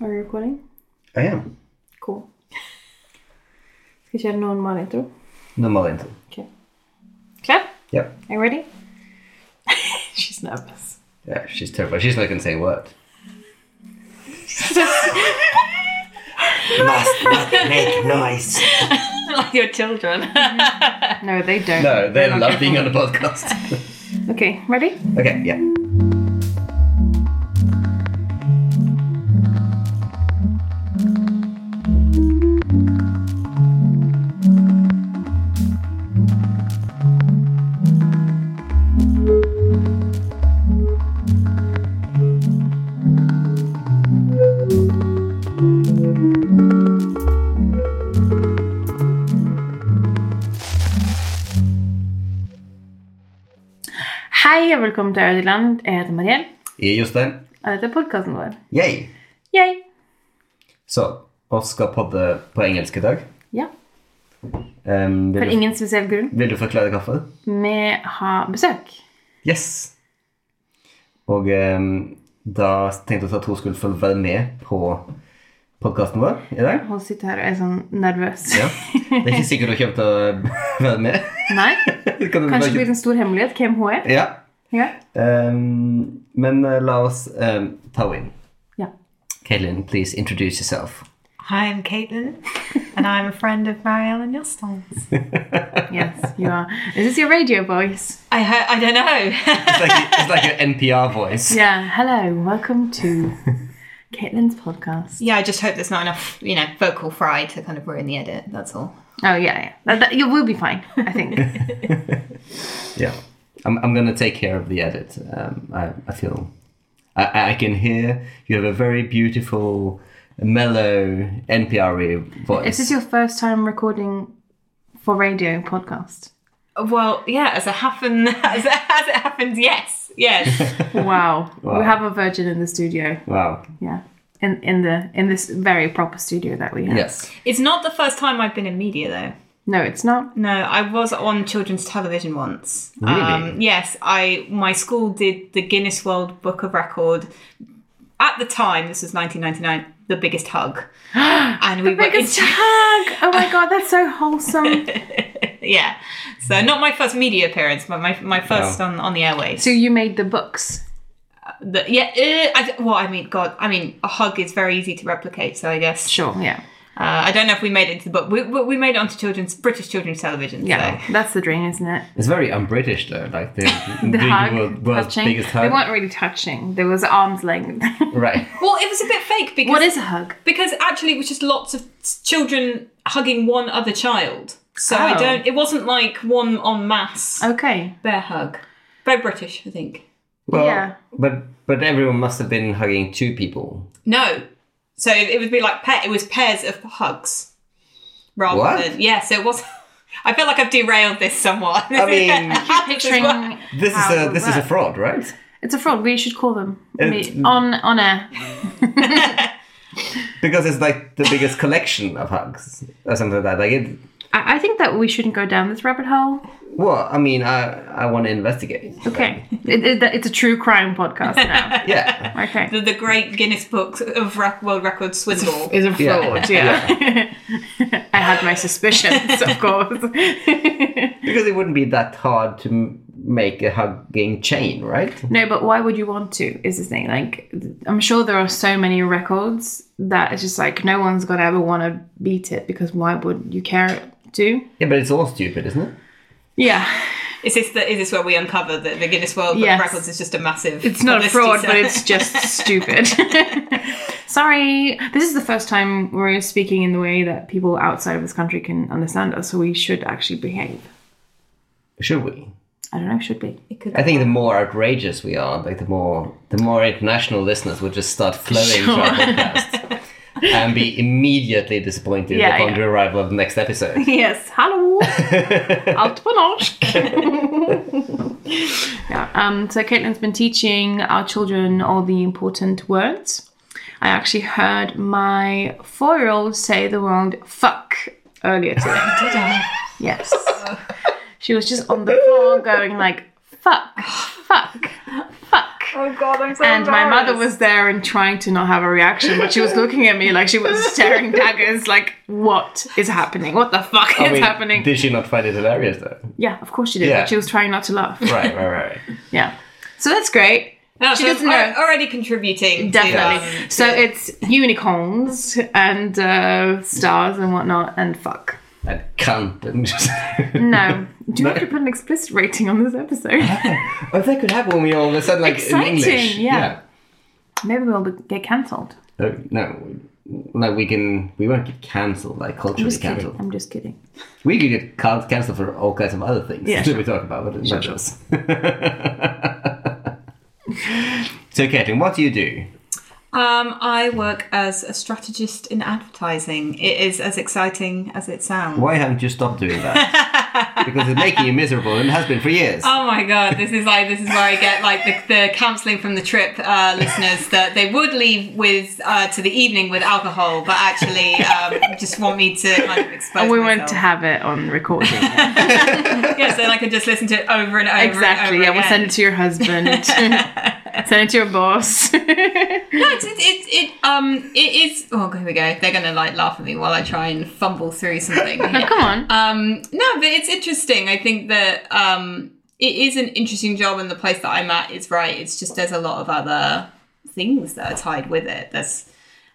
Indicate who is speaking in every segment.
Speaker 1: Are you recording?
Speaker 2: I am.
Speaker 1: Cool. Skal vi kjøre noen normal intro?
Speaker 2: Normal intro.
Speaker 1: Ok. Klar?
Speaker 2: Yep.
Speaker 1: Are you ready? She's nervous.
Speaker 2: Yeah, she's terrified. She's not going to say a word. Must not make noise.
Speaker 3: like your children.
Speaker 1: Mm-hmm. no, they don't.
Speaker 2: No, they love being on a podcast.
Speaker 1: Okay, ready?
Speaker 2: okay, yeah.
Speaker 1: Hei og velkommen til Audiland. Jeg heter Mariell,
Speaker 2: I Jostein.
Speaker 1: og dette er podkasten vår.
Speaker 2: Yay!
Speaker 1: Yay!
Speaker 2: Så, oss skal podde på engelsk i dag.
Speaker 1: Ja,
Speaker 2: Um,
Speaker 1: for
Speaker 2: vil, du,
Speaker 1: ingen spesiell grunn.
Speaker 2: vil du forklare hvorfor?
Speaker 1: Vi har besøk.
Speaker 2: Yes! Og um, da tenkte jeg at hun skulle få være med på podkasten vår i dag.
Speaker 1: Hun sitter her og er sånn nervøs.
Speaker 2: Ja. Det er ikke sikkert hun kommer til å være med.
Speaker 1: Nei,
Speaker 2: Det kan
Speaker 1: kanskje det
Speaker 2: være-
Speaker 1: blir en stor hemmelighet hvem hun er.
Speaker 2: Ja.
Speaker 1: Ja.
Speaker 2: Um, men uh, la oss um, ta henne inn.
Speaker 1: Ja.
Speaker 2: Caitlin, please introduce yourself.
Speaker 3: Hi, I'm Caitlin, and I'm a friend of Marielle and Justin's.
Speaker 1: Yes, you are. Is this your radio voice?
Speaker 3: I ho- I don't know.
Speaker 2: It's like, it's like your NPR voice.
Speaker 1: Yeah. Hello, welcome to Caitlin's podcast.
Speaker 3: yeah, I just hope there's not enough, you know, vocal fry to kind of ruin the edit. That's all.
Speaker 1: Oh yeah, yeah. That, that, you will be fine, I think.
Speaker 2: Yeah. I'm, I'm going to take care of the edit. Um, I, I feel. I, I can hear you have a very beautiful, mellow NPR
Speaker 1: Is
Speaker 2: voice.
Speaker 1: this your first time recording for radio podcast?
Speaker 3: Well, yeah, as it happen, as it, as it happens, yes, yes.
Speaker 1: Wow.
Speaker 2: Wow.
Speaker 1: We have a virgin in the studio.
Speaker 2: wow.
Speaker 1: Yeah. In in the in this very proper studio that we have.
Speaker 2: Yes.
Speaker 3: it's not the first time I've been in media, though.
Speaker 1: No, it's not.
Speaker 3: No, I was on children's television once.
Speaker 2: Really?
Speaker 3: Um, yes, I my school did the Guinness World Book of Record. At the time, this was 1999, the biggest hug, and we were
Speaker 1: Biggest hug. Oh my god, that's so wholesome.
Speaker 3: yeah. So not my first media appearance, but my my first on, on the airways.
Speaker 1: so you made the books.
Speaker 3: The- yeah. Uh, I, well, I mean, God, I mean, a hug is very easy to replicate. So I guess
Speaker 1: Sure. Yeah.
Speaker 3: uh, I don't know if we made it into the book. We, we we made it onto children's British children's television.
Speaker 1: Yeah.
Speaker 3: So.
Speaker 1: That's the dream, isn't it?
Speaker 2: It's very un-British though, like the, doing
Speaker 1: The hug,
Speaker 2: the world, world's
Speaker 1: touching.
Speaker 2: biggest
Speaker 1: They
Speaker 2: hug.
Speaker 1: weren't really touching. There was arms length.
Speaker 2: Right.
Speaker 3: Well, it was a bit fake because
Speaker 1: what is a hug?
Speaker 3: because actually it was just lots of children hugging one other child. So I
Speaker 1: Oh.
Speaker 3: don't. It wasn't like one en masse
Speaker 1: Okay.
Speaker 3: bear hug. Very British, I think.
Speaker 2: Well,
Speaker 1: Yeah.
Speaker 2: But but everyone must have been hugging two people.
Speaker 3: No. So it would be like pair, it was pairs of hugs. Rather
Speaker 2: What?
Speaker 3: than yeah, so it was I feel like I've derailed this somewhat.
Speaker 2: I mean-
Speaker 3: How this is what-
Speaker 1: Picturing
Speaker 2: This
Speaker 1: how
Speaker 2: is
Speaker 1: it
Speaker 2: a
Speaker 1: would
Speaker 2: this is a
Speaker 1: work.
Speaker 2: fraud, right?
Speaker 1: It's a fraud. We should call them
Speaker 2: It's-
Speaker 1: Me- on on air.
Speaker 2: Because it's like the biggest collection of hugs or something like that. Like it.
Speaker 1: I, I think that we shouldn't go down this rabbit hole.
Speaker 2: Well, I mean, I I want to investigate.
Speaker 1: Okay, it, it, it's a true crime podcast now.
Speaker 2: Like, yeah.
Speaker 1: Okay,
Speaker 3: the, the great Guinness Book of rec- World Records swindle.
Speaker 1: is a fraud.
Speaker 2: Yeah.
Speaker 1: Yeah, I had my suspicions, of course.
Speaker 2: Because it wouldn't be that hard to m- make a hugging chain, right?
Speaker 1: no, but why would you want to? Is the thing like I'm sure there are so many records that it's just like no one's gonna ever want to beat it because why would you care to?
Speaker 2: Yeah, but it's all stupid, isn't it?
Speaker 1: Yeah,
Speaker 3: Is this the, is this where we uncover that the Guinness World Book of
Speaker 1: Yes.
Speaker 3: Records is just a massive
Speaker 1: it's not a
Speaker 3: publicity
Speaker 1: fraud, but
Speaker 3: stunt?
Speaker 1: it's just stupid. Sorry, this is the first time we're speaking in the way that people outside of this country can understand us, so we should actually behave.
Speaker 2: Should we?
Speaker 1: I don't know, should be.
Speaker 3: It could-
Speaker 2: I think the more outrageous we are, like the more the more international listeners will just start flowing to our podcast and be immediately disappointed
Speaker 1: Yeah,
Speaker 2: upon
Speaker 1: yeah.
Speaker 2: the arrival of the next episode.
Speaker 1: Yes, hallo! Alt på norsk! yeah, um, so Caitlin's been teaching our children all the important words. I actually heard my four year old say the word fuck earlier today.
Speaker 3: Did I?
Speaker 1: Yes. she was just on the floor going like, fuck, fuck, fuck.
Speaker 3: Oh god, I'm so
Speaker 1: and my mother was there and trying to not have a reaction, but she was looking at me like she was staring daggers, like, what is happening? What the fuck is happening?
Speaker 2: Did she not find it hilarious though?
Speaker 1: yeah, of course she did.
Speaker 2: Yeah.
Speaker 1: But she was trying not to laugh.
Speaker 2: Right, right, right.
Speaker 1: Yeah. So that's great.
Speaker 3: No,
Speaker 1: she
Speaker 3: so
Speaker 1: doesn't
Speaker 3: al-
Speaker 1: know.
Speaker 3: already contributing.
Speaker 1: Definitely.
Speaker 3: To, um,
Speaker 1: so
Speaker 3: to-
Speaker 1: it's unicorns and uh, stars and whatnot and fuck.
Speaker 2: and cunt and just.
Speaker 1: No. Do you have to put an explicit rating on this episode?
Speaker 2: oh, that could happen when we all of a sudden like
Speaker 1: Exciting,
Speaker 2: in English.
Speaker 1: yeah. Maybe we'll be- get cancelled.
Speaker 2: yeah. Oh, no, no, we can. We won't get cancelled like culturally
Speaker 1: Just kidding.
Speaker 2: cancelled.
Speaker 1: I'm just kidding.
Speaker 2: We could get can- cancelled for all kinds of other things
Speaker 1: Yeah,
Speaker 2: that we talk about, but not
Speaker 1: sure.
Speaker 2: us. so, Caitlin, what do you do?
Speaker 3: um, I work as a strategist in advertising. It is as exciting as it sounds.
Speaker 2: Why haven't you stopped doing that? because it's making you miserable, and it has been for years.
Speaker 3: Oh my god, this is like this is where I get like the, the counselling from the trip uh, listeners that they would leave with uh, to the evening with alcohol, but actually um, just want me to kind of expose.
Speaker 1: We
Speaker 3: myself.
Speaker 1: want to have it on recording.
Speaker 3: yeah, so then I could just listen to it over and over.
Speaker 1: exactly.
Speaker 3: and over
Speaker 1: yeah, we'll send it to your husband. send it to your boss.
Speaker 3: No, it's, it's, it's it um it is. Oh, here we go. They're gonna like laugh at me while I try and fumble through something. here.
Speaker 1: Come on.
Speaker 3: Um, no, but it's interesting. I think that um, it is an interesting job, and the place that I'm at is right. It's just there's a lot of other things that are tied with it. There's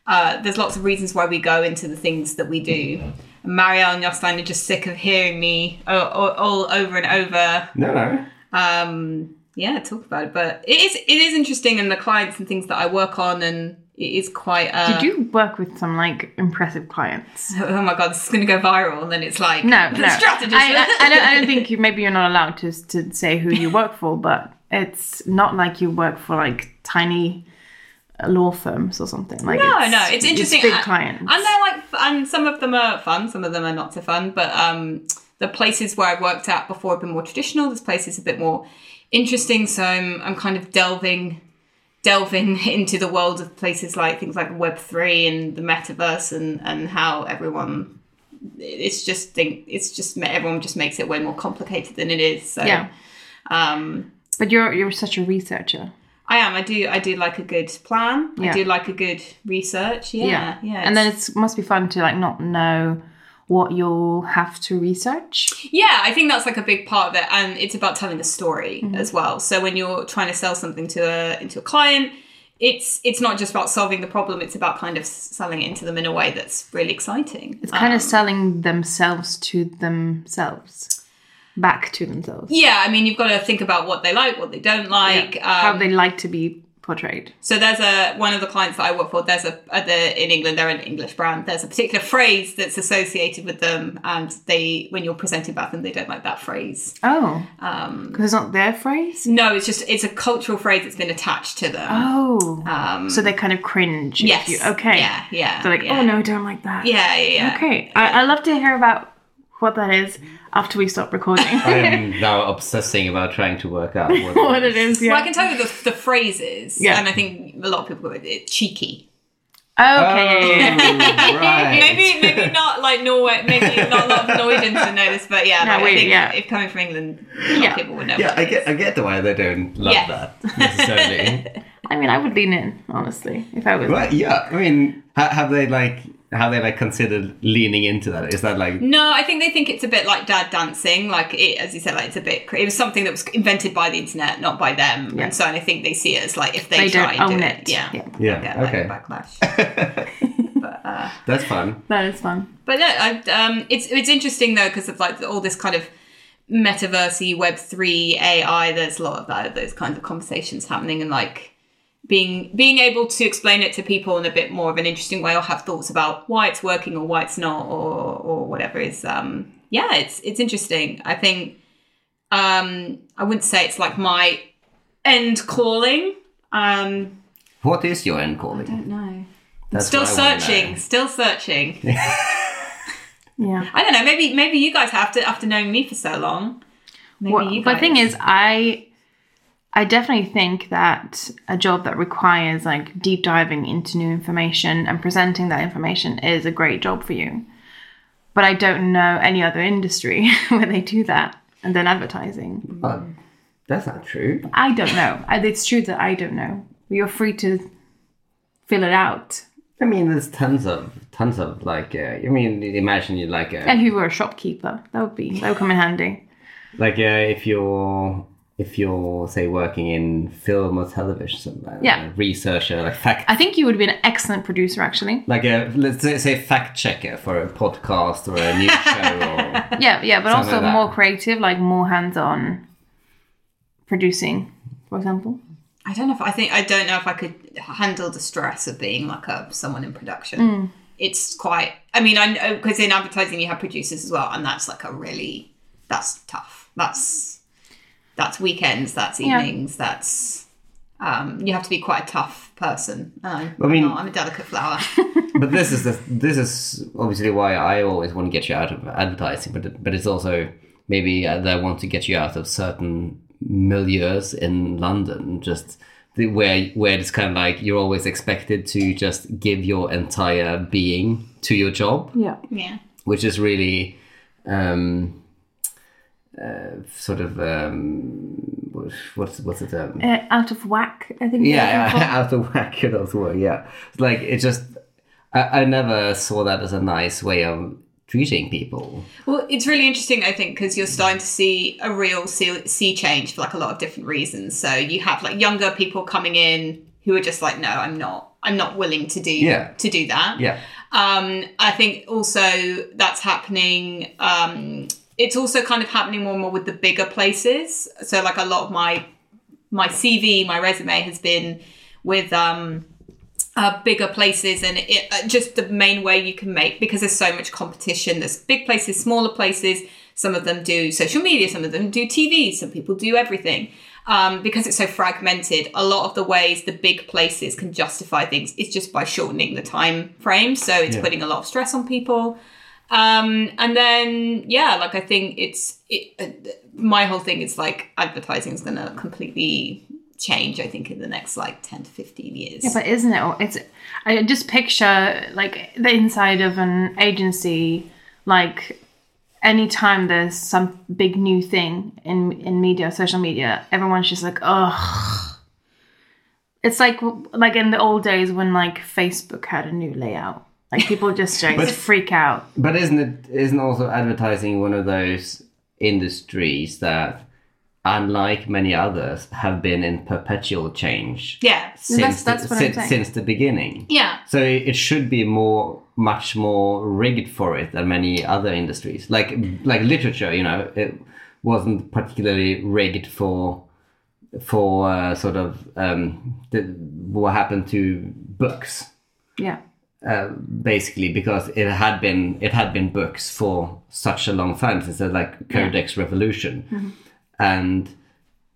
Speaker 3: uh, there's lots of reasons why we go into the things that we do. Marielle and Jostein are just sick of hearing me all, all over and over.
Speaker 2: no, no.
Speaker 3: Um, yeah, talk about it, but it is it is interesting, and the clients and things that I work on, and it is quite. Uh,
Speaker 1: you do work with some like impressive clients.
Speaker 3: Oh my god, this is going to go viral, and then it's like
Speaker 1: No,
Speaker 3: the
Speaker 1: no.
Speaker 3: strategist.
Speaker 1: I, I, I don't, I don't think you. Maybe you're not allowed to to say who you work for, but it's not like you work for like tiny law firms or something. Like
Speaker 3: No, no, it's interesting.
Speaker 1: big
Speaker 3: I-
Speaker 1: clients.
Speaker 3: And they're like, f- and some of them are fun, some of them are not so fun. But um, the places where I've worked at before have been more traditional. This place is a bit more interesting, so I'm, I'm kind of delving, delving into the world of places like things like Web three and the metaverse and and how everyone. It's just think it's just everyone just makes it way more complicated than it is. So
Speaker 1: yeah,
Speaker 3: um,
Speaker 1: but you're you're such a researcher.
Speaker 3: I am. I do. I do like a good plan.
Speaker 1: Yeah.
Speaker 3: I do like a good research. Yeah, yeah.
Speaker 1: and then it's must be fun to like not know what you'll have to research.
Speaker 3: yeah, I think that's like a big part of it, and it's about telling a story
Speaker 1: Mm-hmm.
Speaker 3: as well. So when you're trying to sell something to a into a client, it's it's not just about solving the problem. It's about kind of s- selling it into them in a way that's really exciting. Uh,
Speaker 1: It's kind of selling themselves to themselves, back to themselves.
Speaker 3: yeah, I mean, you've got to think about what they like, what they don't like.
Speaker 1: how
Speaker 3: um,
Speaker 1: they like to be portrayed.
Speaker 3: So there's a one of the clients that I work for. There's a uh, the, in England they're an English brand. There's a particular phrase that's associated with them, and they when you're presenting about them, they don't like that phrase.
Speaker 1: Oh,
Speaker 3: Um,
Speaker 1: because it's not their phrase.
Speaker 3: No, it's just it's a cultural phrase that's been attached to them.
Speaker 1: Oh,
Speaker 3: Um,
Speaker 1: so they kind of cringe. if
Speaker 3: yes.
Speaker 1: you- okay.
Speaker 3: Yeah. Yeah.
Speaker 1: They're like,
Speaker 3: yeah.
Speaker 1: oh no, don't like that.
Speaker 3: Yeah. Yeah. yeah.
Speaker 1: Okay. I, I love to hear about what that is after we stop recording.
Speaker 2: I am now obsessing about trying to work out what,
Speaker 1: what it is. Yeah.
Speaker 3: Well, I can tell you the, the phrases,
Speaker 1: Yeah.
Speaker 3: and I think a lot of people go with it cheeky.
Speaker 1: okay. yeah, yeah, yeah.
Speaker 2: Oh, right.
Speaker 3: Maybe, maybe not like Norway. Maybe not a lot of Norwegians would know this, but yeah,
Speaker 1: No,
Speaker 3: like,
Speaker 1: we-
Speaker 3: I think
Speaker 1: yeah.
Speaker 3: if coming from England, a lot of
Speaker 1: Yeah.
Speaker 3: people would know.
Speaker 2: Yeah,
Speaker 3: what
Speaker 2: I
Speaker 3: it is.
Speaker 2: get, I get the why they don't love
Speaker 3: Yes.
Speaker 2: that necessarily.
Speaker 1: I mean, I would lean in honestly if I was.
Speaker 2: Right? Yeah. I mean, ha- have they like have they like considered leaning into that? Is that like
Speaker 3: No, I think they think it's a bit like dad dancing. Like it, as you said, like it's a bit. cr- It was something that was invented by the internet, not by them.
Speaker 1: Yeah.
Speaker 3: And so I think they see it as like if they,
Speaker 1: They
Speaker 3: try
Speaker 1: don't
Speaker 3: and
Speaker 1: own
Speaker 3: do
Speaker 1: it.
Speaker 3: it, yeah,
Speaker 2: yeah?
Speaker 3: Get,
Speaker 2: okay,
Speaker 3: like, backlash. but uh,
Speaker 2: that's fun.
Speaker 1: That is fun.
Speaker 3: but no, I, um, it's it's interesting though because of like all this kind of metaversey Web three AI. There's a lot of that, those kinds of conversations happening and like being being able to explain it to people in a bit more of an interesting way or have thoughts about why it's working or why it's not or or whatever is um yeah it's it's interesting i think um i wouldn't say it's like my end calling um
Speaker 2: What is your end calling?
Speaker 3: no
Speaker 2: That's
Speaker 3: still
Speaker 2: what I wanna
Speaker 3: searching
Speaker 2: know.
Speaker 3: still searching
Speaker 1: Yeah.
Speaker 3: i don't know maybe maybe you guys have to after knowing me for so long maybe
Speaker 1: Well,
Speaker 3: you guys
Speaker 1: but the thing is, I I definitely think that a job that requires like deep diving into new information and presenting that information is a great job for you. But I don't know any other industry where they do that, and then advertising.
Speaker 2: Well, That's not true.
Speaker 1: I don't know. I- It's true that I don't know. You're free to fill it out.
Speaker 2: I mean, there's tons of tons of like. Uh, I mean, imagine you like uh, a,
Speaker 1: And if you were a shopkeeper, that would be that would come in handy.
Speaker 2: like uh, if you're if you're say working in film or television, like,
Speaker 1: Yeah.
Speaker 2: a researcher, like fact,
Speaker 1: I think you would be an excellent producer, actually.
Speaker 2: like a let's say, say fact checker for a podcast or a news show. Or,
Speaker 1: Yeah, yeah, but
Speaker 2: Something
Speaker 1: also
Speaker 2: like that.
Speaker 1: more creative, like more hands-on producing, for example.
Speaker 3: I don't know if I think I don't know if I could handle the stress of being like a someone in production.
Speaker 1: Mm.
Speaker 3: It's quite. I mean, I know because in advertising you have producers as well, and that's like a really that's tough. That's that's weekends, that's
Speaker 1: Yeah.
Speaker 3: evenings, that's um, you have to be quite a tough person. I,
Speaker 2: I mean-
Speaker 3: mean, I'm a delicate flower.
Speaker 2: but this is the, this is obviously why I always want to get you out of advertising, but but it's also maybe uh, that I want to get you out of certain milieux in London, just the, where where it's kind of like you're always expected to just give your entire being to your job.
Speaker 1: Yeah.
Speaker 3: yeah,
Speaker 2: which is really um, uh, sort of um, what- what's what's it? Um,
Speaker 1: Uh, out of whack, I think.
Speaker 2: yeah,
Speaker 1: they're
Speaker 2: out of whack. You know, word. Yeah, It's like it just. I, I never saw that as a nice way of treating people.
Speaker 3: Well, it's really interesting, I think, because you're starting to see a real sea, sea change for like a lot of different reasons. So you have like younger people coming in who are just like, no, I'm not, I'm not willing to do
Speaker 2: Yeah.
Speaker 3: to do that.
Speaker 2: Yeah,
Speaker 3: Um, I think also that's happening. Um, it's also kind of happening more and more with the bigger places. So like a lot of my my CV, my resume has been with um, uh, bigger places, and it, uh, just the main way you can make because there's so much competition. There's big places, smaller places. Some of them do social media, some of them do TV, some people do everything. Um, because it's so fragmented, a lot of the ways the big places can justify things is just by shortening the time frame. So it's putting a lot of stress on people. Um, and then yeah, like I think it's it, uh, my whole thing is like advertising is going to completely change. I think in the next like ten to fifteen years.
Speaker 1: Yeah, but isn't it? It's I just picture like the inside of an agency, like anytime there's some big new thing in in media, social media, everyone's just like, ugh. It's like like in the old days when like Facebook had a new layout, like people just like freak out.
Speaker 2: but isn't it? Isn't also advertising one of those industries that, unlike many others, have been in perpetual change
Speaker 3: yeah,
Speaker 2: since
Speaker 1: That's- that's
Speaker 2: the,
Speaker 1: what I'm
Speaker 2: since,
Speaker 1: saying.
Speaker 2: since the beginning?
Speaker 3: yeah.
Speaker 2: So it should be more, much more rigged for it than many other industries. Like like literature, you know, it wasn't particularly rigged for for uh, sort of um, the, what happened to books,
Speaker 1: Yeah,
Speaker 2: uh, basically, because it had been it had been books for such a long time since the like Codex Revolution, and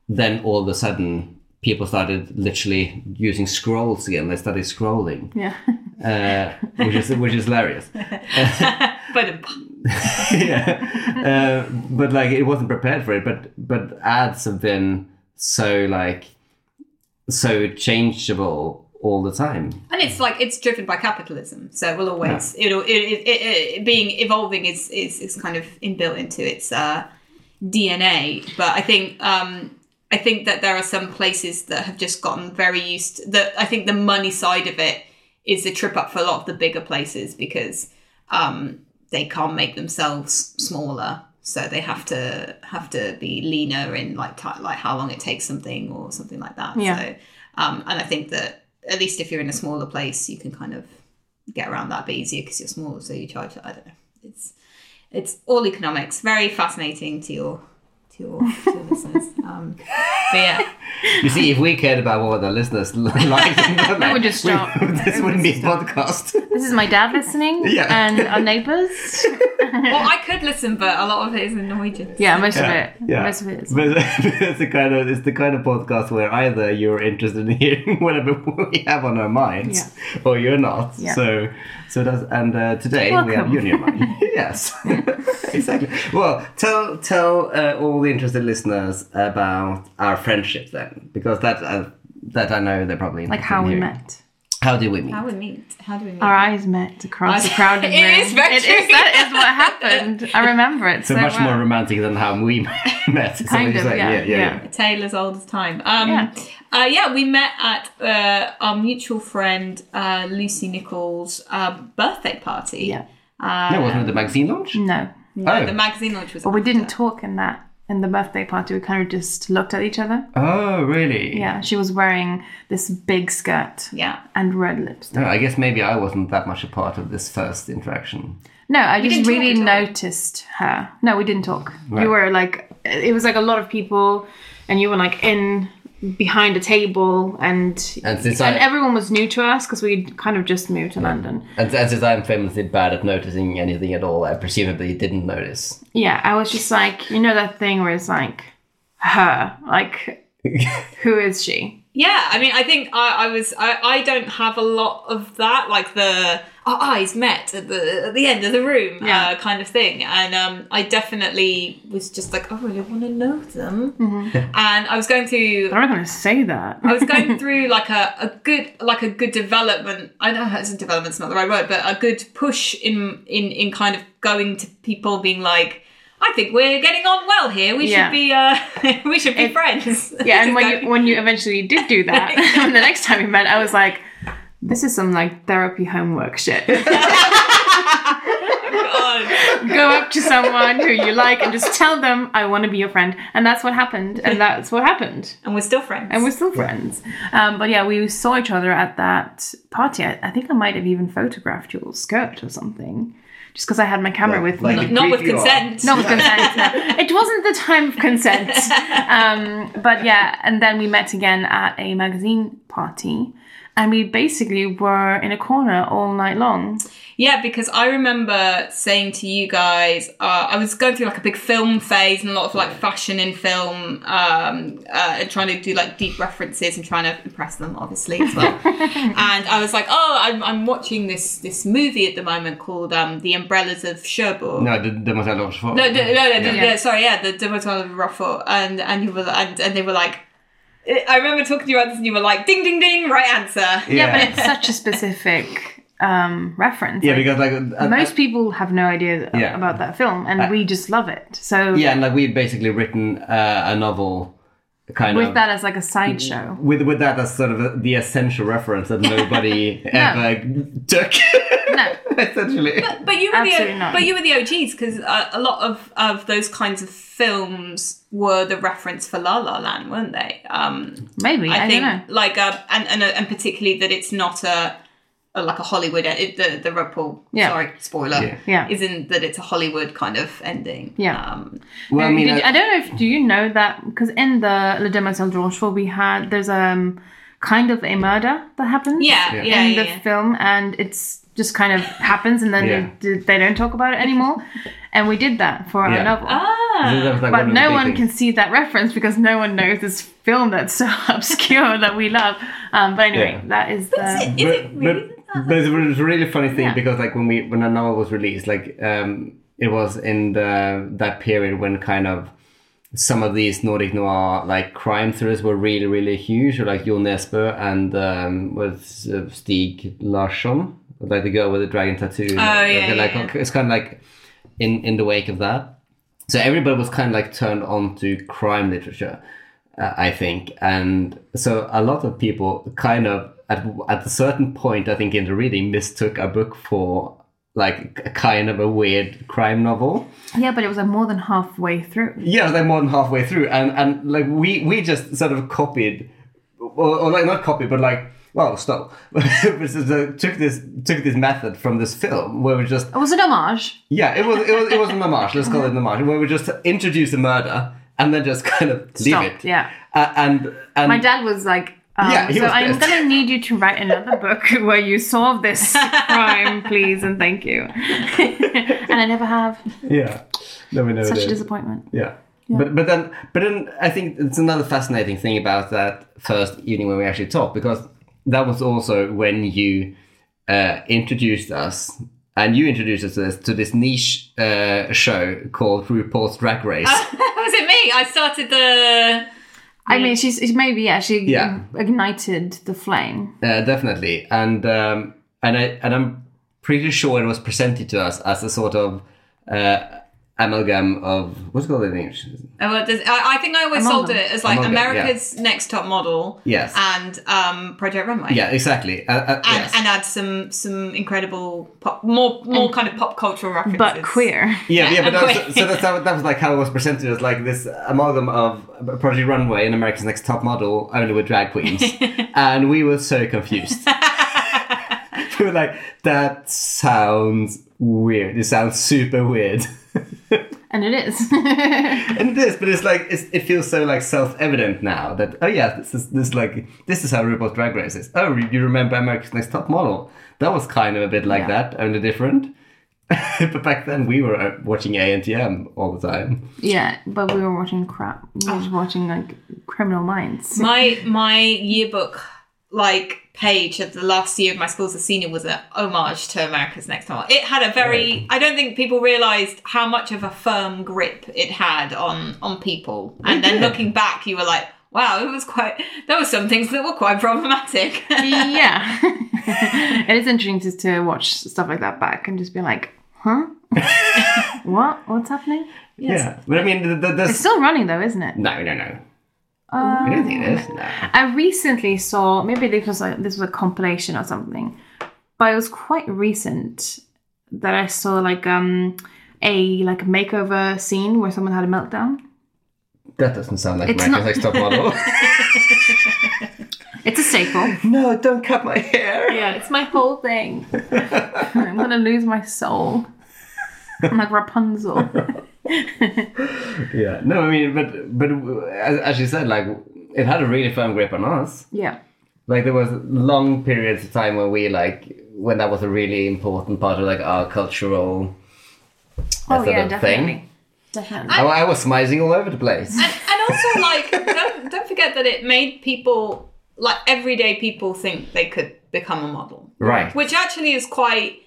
Speaker 2: then all of a sudden. People started literally using scrolls again. They started scrolling,
Speaker 1: yeah.
Speaker 2: uh, which is which is hilarious.
Speaker 3: But
Speaker 2: yeah, uh, but like it wasn't prepared for it. But but ads have been so like so changeable all the time.
Speaker 3: and it's like it's driven by capitalism, so we'll always it'll it, it, it, it being evolving is is is kind of inbuilt into its uh, DNA. But I think um, I think that there are some places that have just gotten very used. that I think the money side of it is a trip up for a lot of the bigger places because um, they can't make themselves smaller, so they have to have to be leaner in like ti like how long it takes something or something like that.
Speaker 1: Yeah.
Speaker 3: So, um, and I think that at least if you're in a smaller place, you can kind of get around that a bit easier because you're smaller, so you charge. I don't know. It's it's all economics. Very fascinating to your to your, to your listeners. Um, but yeah,
Speaker 2: You see, if we cared about what the listeners li- liked, we
Speaker 1: would just stop.
Speaker 2: this wouldn't be a podcast.
Speaker 1: This is my dad listening,
Speaker 2: Yeah.
Speaker 1: and our neighbors.
Speaker 3: well, I could listen, but a lot of it is in Norwegian.
Speaker 1: Yeah, most of it.
Speaker 2: yeah.
Speaker 1: most of it is.
Speaker 2: But it's the kind of it's the kind of podcast where either you're interested in hearing whatever we have on our minds, or you're not.
Speaker 1: Yeah.
Speaker 2: So, so that's and uh, today we have
Speaker 1: Welcome.
Speaker 2: you on your mind. yes, exactly. Well, tell tell uh, all the interested listeners about our friendship then, because that uh, that I know they're probably
Speaker 1: Like
Speaker 2: interested
Speaker 1: how
Speaker 2: in
Speaker 1: we
Speaker 2: hearing.
Speaker 1: met.
Speaker 2: How do we meet?
Speaker 3: How we meet? How do we meet?
Speaker 1: Our eyes met across the
Speaker 3: Eyes-
Speaker 1: crowded
Speaker 3: It
Speaker 1: room.
Speaker 3: is very
Speaker 1: It
Speaker 3: true.
Speaker 1: is- that is what happened. I remember it so,
Speaker 2: so much
Speaker 1: well.
Speaker 2: more romantic than how we met. So
Speaker 1: Kind
Speaker 2: it's
Speaker 1: of, yeah, yeah.
Speaker 3: A tale as old as time. Um,
Speaker 1: Yeah.
Speaker 3: yeah. Uh, yeah, we met at uh, our mutual friend uh, Lucy Nichols' uh, birthday party.
Speaker 1: Yeah.
Speaker 3: Uh,
Speaker 2: No, wasn't it the magazine launch?
Speaker 1: No,
Speaker 3: no,
Speaker 2: Oh.
Speaker 3: the magazine launch was.
Speaker 1: but we didn't
Speaker 3: after.
Speaker 1: talk in that in the birthday party. We kind of just looked at each other.
Speaker 2: Oh, really?
Speaker 1: Yeah, she was wearing this big skirt
Speaker 3: Yeah.
Speaker 1: and red lipstick.
Speaker 2: No, I guess maybe I wasn't that much a part of this first interaction.
Speaker 1: No, I just
Speaker 3: didn't talk
Speaker 1: really
Speaker 3: at all.
Speaker 1: noticed her. No, we didn't talk.
Speaker 2: Right.
Speaker 1: You were like, it was like a lot of people, and you were like in behind a table, and
Speaker 2: And since I-
Speaker 1: everyone was new to us because we kind of just moved to London.
Speaker 2: And and since I'm famously bad at noticing anything at all, I presumably didn't notice.
Speaker 1: Yeah, I was just like, you know that thing where it's like, her, like, who is she?
Speaker 3: Yeah, I mean, I think I, I was. I, I don't have a lot of that, like the our eyes met at the at the end of the room,
Speaker 1: Yeah.
Speaker 3: uh, kind of thing. And um, I definitely was just like, oh, I really want to know them.
Speaker 1: Mm-hmm.
Speaker 3: and I was going through.
Speaker 1: I'm not going to say that.
Speaker 3: I was going through like a, a good like a good development. I know it's development's not the right word, but a good push in in in kind of going to people being like, I think we're getting on well here. We
Speaker 1: Yeah.
Speaker 3: should be uh we should be
Speaker 1: It-
Speaker 3: friends.
Speaker 1: yeah, and when you when you eventually did do that, when the next time we met, I was like, this is some like therapy homework shit.
Speaker 3: God.
Speaker 1: Go up to someone who you like and just tell them I want to be your friend, and that's what happened, and that's what happened,
Speaker 3: and we're still friends.
Speaker 1: and we're still friends. Um, but yeah, we saw each other at that party. I, I think I might have even photographed your skirt or something, just because I had my camera with me.
Speaker 2: Like-
Speaker 3: not with
Speaker 2: Creepy or-
Speaker 3: consent.
Speaker 1: Not with consent. no. It wasn't the time of consent. Um, but yeah, and then we met again at a magazine party, and we basically were in a corner all night long.
Speaker 3: Yeah, because I remember saying to you guys, uh, I was going through like a big film phase and a lot of like fashion in film, um, uh, and trying to do like deep references and trying to impress them, obviously as well. and I was like, oh, I'm, I'm watching this this movie at the moment called um, The Umbrellas of Cherbourg.
Speaker 2: No, the Demoiselle Rochefort.
Speaker 3: No, no, no, no, no,
Speaker 1: Yeah.
Speaker 3: no, sorry, yeah, the Demoiselle of Ruffle, and and you were and, and they were like, "Eh," I remember talking to you about this, and you were like, ding, ding, ding, right answer.
Speaker 1: Yeah,
Speaker 2: Yeah.
Speaker 1: but it's such a specific um, reference.
Speaker 2: Yeah,
Speaker 1: Like,
Speaker 2: because like uh,
Speaker 1: most people have no idea
Speaker 2: Yeah. Uh,
Speaker 1: about that film, and we just love it. So
Speaker 2: yeah, and like we've basically written uh, a novel, kind
Speaker 1: with
Speaker 2: of
Speaker 1: that as like a sideshow.
Speaker 2: with with that as sort of a, the essential reference that nobody ever took.
Speaker 1: No.
Speaker 2: essentially.
Speaker 3: But you were
Speaker 1: Absolutely
Speaker 3: the
Speaker 1: not.
Speaker 3: but you were the OGs because uh, a lot of of those kinds of films were the reference for La La Land, weren't they? Um,
Speaker 1: Maybe I,
Speaker 3: I, think
Speaker 1: don't know.
Speaker 3: like uh, and and and particularly that it's not a. a- Like a Hollywood, e, it, the the RuPaul,
Speaker 1: Yeah.
Speaker 3: sorry, spoiler,
Speaker 2: Yeah.
Speaker 1: Yeah.
Speaker 3: isn't that it's a Hollywood kind of ending.
Speaker 1: Yeah.
Speaker 3: um,
Speaker 2: well, I mean,
Speaker 1: Did-
Speaker 2: uh,
Speaker 1: I don't know if do you know that because in the Le Demoiselle Rochefort we had there's um kind of a murder that happens.
Speaker 3: yeah, yeah,
Speaker 2: Yeah.
Speaker 3: yeah.
Speaker 1: in the
Speaker 3: yeah.
Speaker 1: film, and it's just kind of happens, and then
Speaker 2: Yeah.
Speaker 1: they, they don't talk about it anymore. and we did that for
Speaker 2: Yeah.
Speaker 1: our novel.
Speaker 3: Ah,
Speaker 2: that was, like,
Speaker 1: uh, but
Speaker 2: of the
Speaker 1: no
Speaker 2: big
Speaker 1: one
Speaker 2: things.
Speaker 1: can see that reference because no one knows this film that's so obscure that we love. Um, but anyway,
Speaker 2: Yeah.
Speaker 1: that is the.
Speaker 3: Is it really
Speaker 2: but, but it was a really funny thing
Speaker 1: Yeah.
Speaker 2: because like when we when the novel was released, like um, it was in the that period when kind of some of these Nordic noir like crime thrillers were really really huge, or like Jon Nesbø and um, with uh, Stig Larsson, like the girl with the dragon tattoo. Oh
Speaker 3: yeah,
Speaker 2: like,
Speaker 3: yeah,
Speaker 2: it's kind of like in in the wake of that. So everybody was kind of like turned on to crime literature, uh, I think, and so a lot of people kind of at at a certain point, I think, in the reading, mistook a book for like a kind of a weird crime novel.
Speaker 1: Yeah, but it was like more than halfway through.
Speaker 2: Yeah, they're more than halfway through, and and like we we just sort of copied, or, or like not copied, but like well stop, This is, uh, took this took this method from this film where we just
Speaker 1: It was an homage.
Speaker 2: yeah, it was it was it was an homage. Let's call it an homage. Where we just introduce the murder and then just kind of leave
Speaker 1: Stop,
Speaker 2: it.
Speaker 1: yeah.
Speaker 2: Uh, and and
Speaker 1: My dad was like, um,
Speaker 2: Yeah, he
Speaker 1: so
Speaker 2: was
Speaker 1: I'm
Speaker 2: pissed.
Speaker 1: going to need you to write another book where you solve this crime, please, and thank you. and I never have.
Speaker 2: yeah, no, we never
Speaker 1: Such a
Speaker 2: did.
Speaker 1: disappointment.
Speaker 2: Yeah. But but then but then I think it's another fascinating thing about that first evening when we actually talked because that was also when you uh, introduced us and you introduced us to this, to this niche uh, show called RuPaul's Drag Race.
Speaker 3: was it me? I started the
Speaker 1: I mean, she's she's maybe yeah, she
Speaker 2: Yeah.
Speaker 1: ignited the flame.
Speaker 2: Uh, definitely, and um, and I and I'm pretty sure it was presented to us as a sort of uh, amalgam of what's it called in English.
Speaker 3: Oh, well, there's- I, I think I always
Speaker 1: Among
Speaker 3: sold
Speaker 1: them.
Speaker 3: it as like
Speaker 2: Among them, yeah.
Speaker 3: America's Next Top Model.
Speaker 2: Yes.
Speaker 3: And um, Project Runway.
Speaker 2: Yeah, exactly. Uh, uh,
Speaker 3: And,
Speaker 2: yes.
Speaker 3: and add some some incredible pop, more more kind of pop cultural references,
Speaker 1: But queer.
Speaker 2: yeah, yeah,
Speaker 3: yeah,
Speaker 2: but that
Speaker 3: okay.
Speaker 2: was, so that's, how- that was like how it was presented as like this amalgam of Project Runway and America's Next Top Model, only with drag queens, and we were so confused. we were like, that sounds weird. It sounds super weird.
Speaker 1: And it is.
Speaker 2: And this, but it's like it's, it feels so like self-evident now that oh yeah, this is this is like this is how RuPaul's Drag Race is. Oh, you remember America's Next Top Model? That was kind of a bit like
Speaker 1: Yeah.
Speaker 2: that, only different. but back then we were uh, watching ANTM all the time.
Speaker 1: yeah, but we were watching crap. We
Speaker 2: Ah.
Speaker 1: were watching like Criminal Minds.
Speaker 3: my my yearbook like page of the last year of my school as a senior was a homage to America's Next Top Model. It had a very I don't think people realised how much of a firm grip it had on on people. And then looking back you were like, wow, it was quite there were some things that were quite problematic.
Speaker 1: yeah, it is interesting just to watch stuff like that back and just be like, huh, what, what's happening?
Speaker 2: Yeah, but I mean, th- th-
Speaker 1: It's
Speaker 2: there's
Speaker 1: still running though, isn't it?
Speaker 2: no, no, no.
Speaker 1: Uh,
Speaker 2: I don't think it is. No.
Speaker 1: I recently saw maybe this was like this was a compilation or something, but it was quite recent that I saw like um a like makeover scene where someone had a meltdown.
Speaker 2: That doesn't sound like
Speaker 1: It's
Speaker 2: America's
Speaker 1: not-
Speaker 2: Next Top Model.
Speaker 1: It's a staple.
Speaker 2: no, don't cut my hair.
Speaker 1: Yeah, it's my whole thing. I'm gonna lose my soul. I'm like Rapunzel.
Speaker 2: Yeah, no, I mean, but but as, as you said, like it had a really firm grip on us.
Speaker 1: Yeah.
Speaker 2: like there was long periods of time when we like when that was a really important part of like our cultural
Speaker 1: Oh
Speaker 2: sort
Speaker 1: yeah,
Speaker 2: of
Speaker 1: definitely.
Speaker 2: thing.
Speaker 1: Definitely.
Speaker 2: I, I was smizing all over the place
Speaker 3: and, and also like don't don't forget that it made people like everyday people think they could become a model
Speaker 2: right
Speaker 3: which actually is quite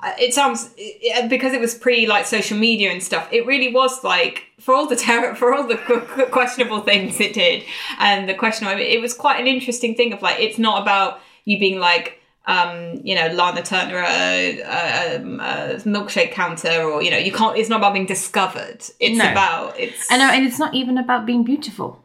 Speaker 3: uh, it sounds it- because it was pre like social media and stuff it really was like for all the terror for all the qu- qu- questionable things it did and the questionable it was quite an interesting thing of like it's not about you being like um, you know, Lana Turner, uh, uh, um, uh, milkshake counter, or you know, you can't. It's not about being discovered. It's
Speaker 1: No.
Speaker 3: about it's.
Speaker 1: I know, and it's not even about being beautiful.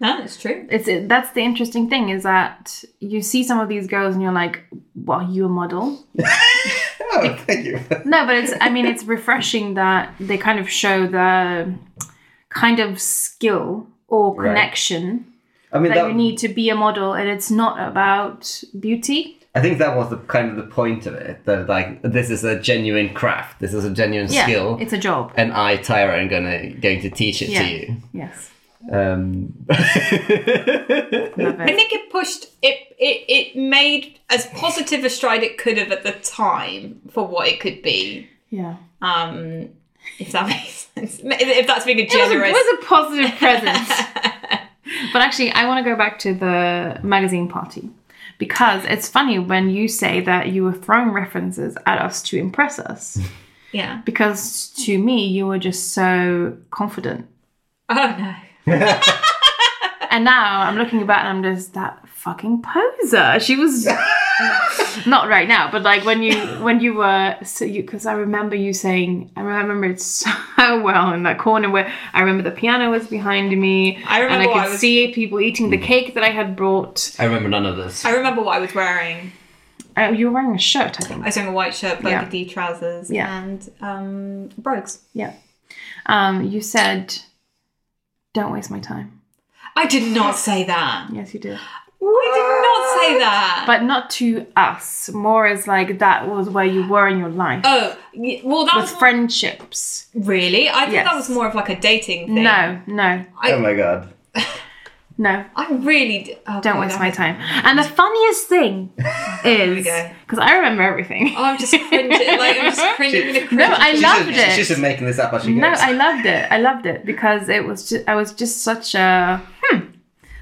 Speaker 3: No, it's true.
Speaker 1: It's it, that's the interesting thing is that you see some of these girls and you're like, "Well, are you a model?"
Speaker 2: oh thank you
Speaker 1: No, but it's. I mean, it's refreshing that they kind of show the kind of skill or
Speaker 2: Right.
Speaker 1: connection
Speaker 2: i mean
Speaker 1: that,
Speaker 2: that,
Speaker 1: you need to be a model, and it's not about beauty.
Speaker 2: i think that was the kind of the point of it that like this is a genuine craft this is a genuine
Speaker 1: Yeah,
Speaker 2: skill
Speaker 1: it's a job.
Speaker 2: and i tyra am gonna going to teach it
Speaker 1: Yeah.
Speaker 2: to you
Speaker 1: Yes,
Speaker 2: um
Speaker 1: love
Speaker 3: I
Speaker 1: it.
Speaker 3: think it pushed it, it it made as positive a stride it could have at the time for what it could be.
Speaker 1: Yeah,
Speaker 3: Um, if that makes sense, if that's being a
Speaker 1: it was, a,
Speaker 3: generous.
Speaker 1: it was a positive presence. but actually, I want to go back to the magazine party because it's funny when you say that you were throwing references at us to impress us.
Speaker 3: yeah.
Speaker 1: Because to me, you were just so confident
Speaker 3: Oh no.
Speaker 1: And now I'm looking back and I'm just that fucking poser. She was not right now, but like when you when you were so you because I remember you saying I remember it so well in that corner where I remember the piano was behind me.
Speaker 3: I
Speaker 1: and
Speaker 3: remember
Speaker 1: I
Speaker 3: what
Speaker 1: could
Speaker 3: I was-
Speaker 1: see people eating the cake that I had brought.
Speaker 2: i remember none of this
Speaker 3: I remember what I was wearing.
Speaker 1: Oh, you were wearing a shirt, I think.
Speaker 3: I was wearing a white shirt,
Speaker 1: Yeah.
Speaker 3: burgundy trousers,
Speaker 1: Yeah.
Speaker 3: and um, brogues.
Speaker 1: Yeah. Um, you said, "Don't waste my time."
Speaker 3: I did not say that.
Speaker 1: Yes, you did,
Speaker 3: I did not say that.
Speaker 1: but not to us. More as like that was where you were in your life
Speaker 3: oh, y- well, that
Speaker 1: with
Speaker 3: was
Speaker 1: friendships.
Speaker 3: really. I thought
Speaker 1: Yes.
Speaker 3: that was more of like a dating thing.
Speaker 1: No, no,
Speaker 2: oh my god
Speaker 1: no.
Speaker 3: I really d- oh,
Speaker 1: Don't
Speaker 3: God,
Speaker 1: waste
Speaker 3: I-
Speaker 1: my time. And the funniest thing is
Speaker 3: go.
Speaker 1: because I remember everything.
Speaker 3: Oh, I'm just cringing. like I'm just cringing. I'm gonna
Speaker 1: No,
Speaker 3: cringe.
Speaker 1: I loved
Speaker 2: she's, just-
Speaker 1: it.
Speaker 2: she's just making this up as she
Speaker 1: no,
Speaker 2: goes
Speaker 1: I loved it. I loved it because it was just I was just such a hmm.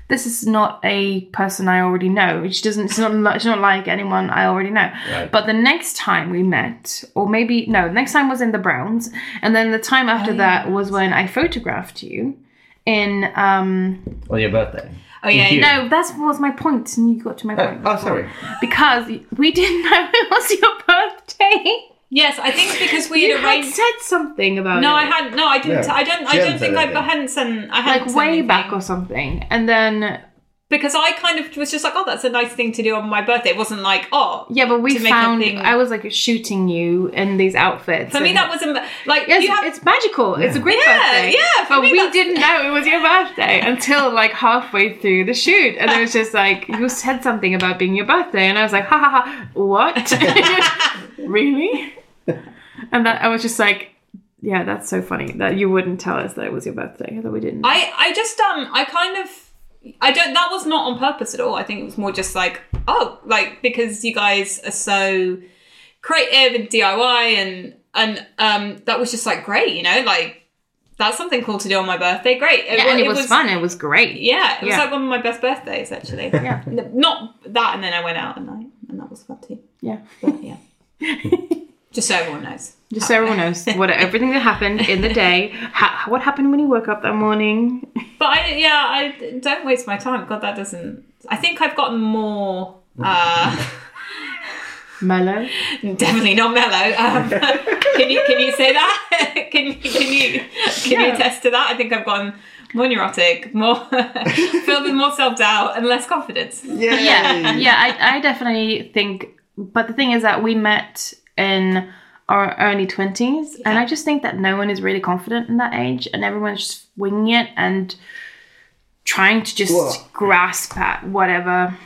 Speaker 1: This is not a person I already know. She doesn't. She's not. li- She's not like anyone I already know.
Speaker 2: Right.
Speaker 1: But the next time we met, or maybe
Speaker 3: Oh,
Speaker 1: no, next time was in the Browns, and then the time after that was when I photographed you, in um
Speaker 2: On your birthday.
Speaker 3: Oh, yeah,
Speaker 2: Thank you.
Speaker 1: no that's was my point and you got to my
Speaker 2: Oh,
Speaker 1: point
Speaker 2: oh, sorry.
Speaker 1: because we didn't know it was your birthday
Speaker 3: Yes, I think because we
Speaker 1: you
Speaker 3: had
Speaker 1: had
Speaker 3: arranged.
Speaker 1: said something about
Speaker 3: No,
Speaker 1: it.
Speaker 3: I hadn't. No, I didn't.
Speaker 2: Yeah.
Speaker 3: I don't. I
Speaker 2: She
Speaker 3: don't
Speaker 2: hadn't
Speaker 3: think
Speaker 2: said
Speaker 3: I,
Speaker 2: anything.
Speaker 3: I hadn't sent. I hadn't
Speaker 1: like
Speaker 3: sent
Speaker 1: way
Speaker 3: anything.
Speaker 1: back or something and then
Speaker 3: because I kind of was just like, oh, that's a nice thing to do on my birthday. It wasn't like, oh,
Speaker 1: yeah but we
Speaker 3: To make a
Speaker 1: found
Speaker 3: thing.
Speaker 1: i was like shooting you in these outfits
Speaker 3: For me,
Speaker 1: and-
Speaker 3: that was a, like
Speaker 1: Yes,
Speaker 3: you have.
Speaker 1: it's magical. It's a great
Speaker 3: Yeah,
Speaker 1: birthday.
Speaker 3: yeah, for
Speaker 1: but
Speaker 3: me
Speaker 1: we
Speaker 3: that's-
Speaker 1: didn't know it was your birthday until like halfway through the shoot, and it was just like you said something about being your birthday, and I was like, ha ha ha, what? really? And that I was just like, yeah, that's so funny that you wouldn't tell us that it was your birthday that we didn't. know.
Speaker 3: I I just um I kind of I don't. That was not on purpose at all. I think it was more just like oh like because you guys are so creative and DIY and and um that was just like great you know like that's something cool to do on my birthday great
Speaker 1: yeah, and it, was, fun. It was great.
Speaker 3: yeah it was
Speaker 1: Yeah.
Speaker 3: like one of my best birthdays actually
Speaker 1: Yeah.
Speaker 3: N- not that and then I went out at night and that was fun too
Speaker 1: Yeah.
Speaker 3: but yeah just so everyone knows
Speaker 1: Just so everyone knows what everything that happened in the day, ha- what happened when you woke up that morning.
Speaker 3: But I, yeah, I don't waste my time. God, that doesn't. I think I've gotten more. Uh,
Speaker 1: Mellow.
Speaker 3: definitely not mellow. Um, can you can you say that? can you can you can you
Speaker 1: Yeah.
Speaker 3: attest to that? I think I've gotten more neurotic, more filled with more self doubt and less confidence.
Speaker 2: Yay.
Speaker 1: yeah yeah I, I definitely think but the thing is that we met in our early 20s and
Speaker 3: Yeah.
Speaker 1: i just think that no one is really confident in that age and everyone's just winging it and trying to just
Speaker 2: Well-
Speaker 1: grasp at whatever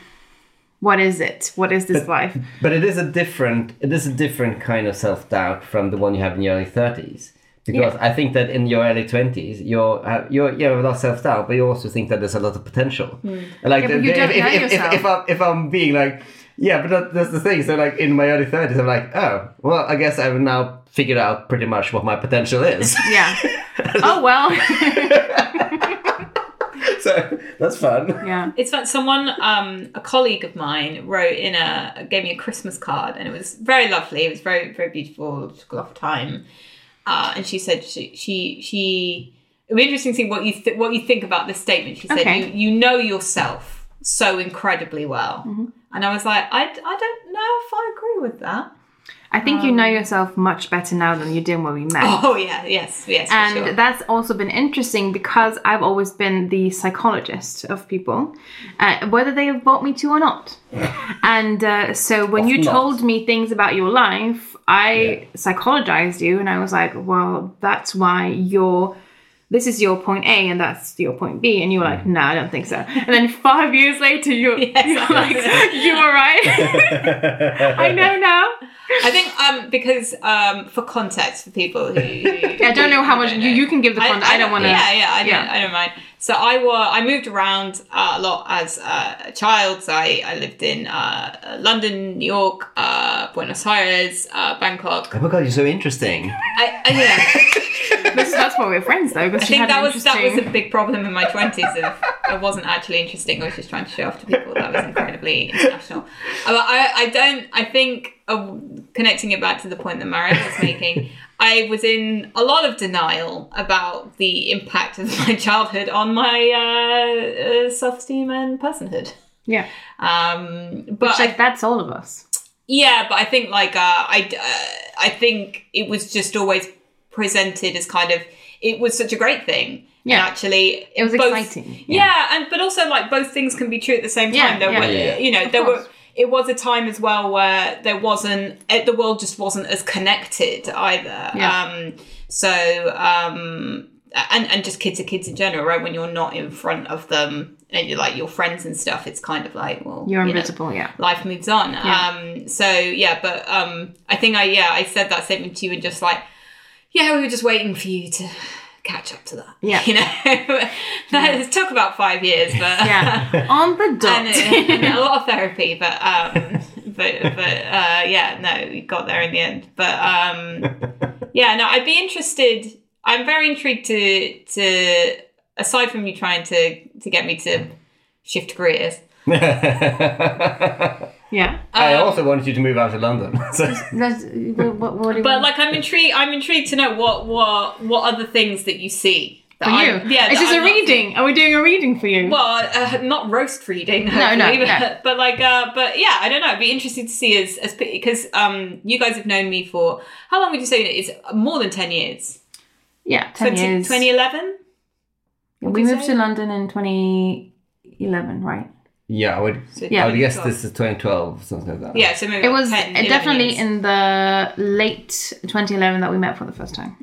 Speaker 1: what is it what is this life
Speaker 2: But it is a different it is a different kind of self doubt from the one you have in your early thirties. Because I think that in your early twenties, you're uh, you're you have a lot of self doubt, but you also think that there's a lot of potential. Like
Speaker 1: Hmm. Yeah, but you
Speaker 2: if,
Speaker 1: don't
Speaker 2: if,
Speaker 1: know
Speaker 2: if, if,
Speaker 1: yourself.
Speaker 2: if I'm if I'm being like yeah, but that, that's the thing. So like in my early thirties, I'm like oh well, I guess I've now figured out pretty much what my potential is.
Speaker 1: yeah oh well
Speaker 2: so that's fun.
Speaker 1: yeah
Speaker 3: It's like someone, um, a colleague of mine, wrote in a gave me a Christmas card, and it was very lovely. It was very very beautiful. It Took a lot of time, uh, and she said she she she. It'd be interesting to see what you th- what you think about this statement. She said
Speaker 1: Okay.
Speaker 3: you, you know yourself so incredibly well,
Speaker 1: Mm-hmm.
Speaker 3: and I was like, I, I don't know if I agree with that.
Speaker 1: i think you know yourself much better now than you did when we met
Speaker 3: Oh yeah, yes, yes, for
Speaker 1: and
Speaker 3: sure.
Speaker 1: that's also been interesting because I've always been the psychologist of people, uh, whether they have bought me to or not. and uh, so when you
Speaker 2: not.
Speaker 1: told me things about your life, I psychologized you, and I was like, "Well, that's why you're." This is your point A, and that's your point B, and you were like,
Speaker 3: Mm.
Speaker 1: "No, I don't think so." And then five years later, you're, you're like, "You were
Speaker 2: Oh
Speaker 1: right. I know now."
Speaker 3: I think um because um for context for people who, who
Speaker 1: I don't know how much you, you can give the context. I, don't want to.
Speaker 3: Yeah, yeah, I don't,
Speaker 1: yeah.
Speaker 3: I don't mind. So I was, I moved around uh, a lot as uh, a child. So I, I lived in uh, London, New York, uh, Buenos Aires, uh, Bangkok.
Speaker 2: Oh my god, you're so interesting.
Speaker 3: I, I, yeah,
Speaker 1: That's why we're friends, though.
Speaker 3: I think that was that was a big problem in my twenties. If I wasn't actually interesting, I was just trying to show off to people that I was incredibly international. Uh, But I, I don't. I think uh, connecting it back to the point that Mario was making. I was in a lot of denial about the impact of my childhood on my uh, uh, self-esteem and personhood.
Speaker 1: yeah.
Speaker 3: Um, but I
Speaker 1: like that's all of us.
Speaker 3: yeah, but I think like uh, I uh, I think it was just always presented as kind of it was such a great thing.
Speaker 1: Yeah.
Speaker 3: and actually,
Speaker 1: It was
Speaker 3: both-
Speaker 1: exciting.
Speaker 3: Yeah. and but also like both things can be true at the same time.
Speaker 1: Yeah,
Speaker 3: there
Speaker 1: yeah.
Speaker 3: were,
Speaker 2: Yeah.
Speaker 3: you know,
Speaker 1: Of
Speaker 3: there
Speaker 1: course.
Speaker 3: were. It was a time as well where there wasn't eh, the world just wasn't as connected either.
Speaker 1: Yeah.
Speaker 3: Um, so um, and and just kids are kids in general, right? When you're not in front of them and you're like your friends and stuff, it's kind of like well,
Speaker 1: You're
Speaker 3: you know,
Speaker 1: invisible, yeah.
Speaker 3: life moves on. Um, so yeah, but um, I think I yeah I said that statement to you and just like yeah we were just waiting for you to catch up to that.
Speaker 1: Yeah.
Speaker 3: you know that it took about five years, but
Speaker 1: Yeah. On the
Speaker 3: and,
Speaker 1: dot.
Speaker 3: and a lot of therapy, but um, but but uh, yeah, no, we got there in the end. But um, yeah, no, I'd be interested. I'm very intrigued to to aside from you trying to to get me to shift careers.
Speaker 1: yeah.
Speaker 2: I also wanted you to move out of London. So-
Speaker 1: That's, what, what do you
Speaker 3: But
Speaker 1: want?
Speaker 3: like, I'm intrigued. I'm intrigued to know what what what other things that you see that
Speaker 1: for you.
Speaker 3: I- yeah,
Speaker 1: is
Speaker 3: that
Speaker 1: this a
Speaker 3: I'm not-
Speaker 1: reading? Are we doing a reading for you?
Speaker 3: Well, uh, not roast reading.
Speaker 1: No, no,
Speaker 3: hopefully, but,
Speaker 1: no.
Speaker 3: but like, uh, but yeah, I don't know. It'd be interesting to see as as because um, you guys have known me for how long would you say it's more than ten years?
Speaker 1: yeah, ten
Speaker 3: 20
Speaker 1: years.
Speaker 3: 2011?
Speaker 1: we
Speaker 3: you
Speaker 1: moved
Speaker 3: say?
Speaker 1: to London in 2011, right?
Speaker 2: Yeah, I would.
Speaker 3: So
Speaker 1: Yeah.
Speaker 2: I would guess
Speaker 3: 2012.
Speaker 2: this is 2012, something like that.
Speaker 3: Yeah, so maybe
Speaker 1: It
Speaker 3: about
Speaker 1: was
Speaker 3: 10,
Speaker 1: uh,
Speaker 3: 11
Speaker 1: definitely
Speaker 3: years.
Speaker 1: in the late 2011 that we met for the first time.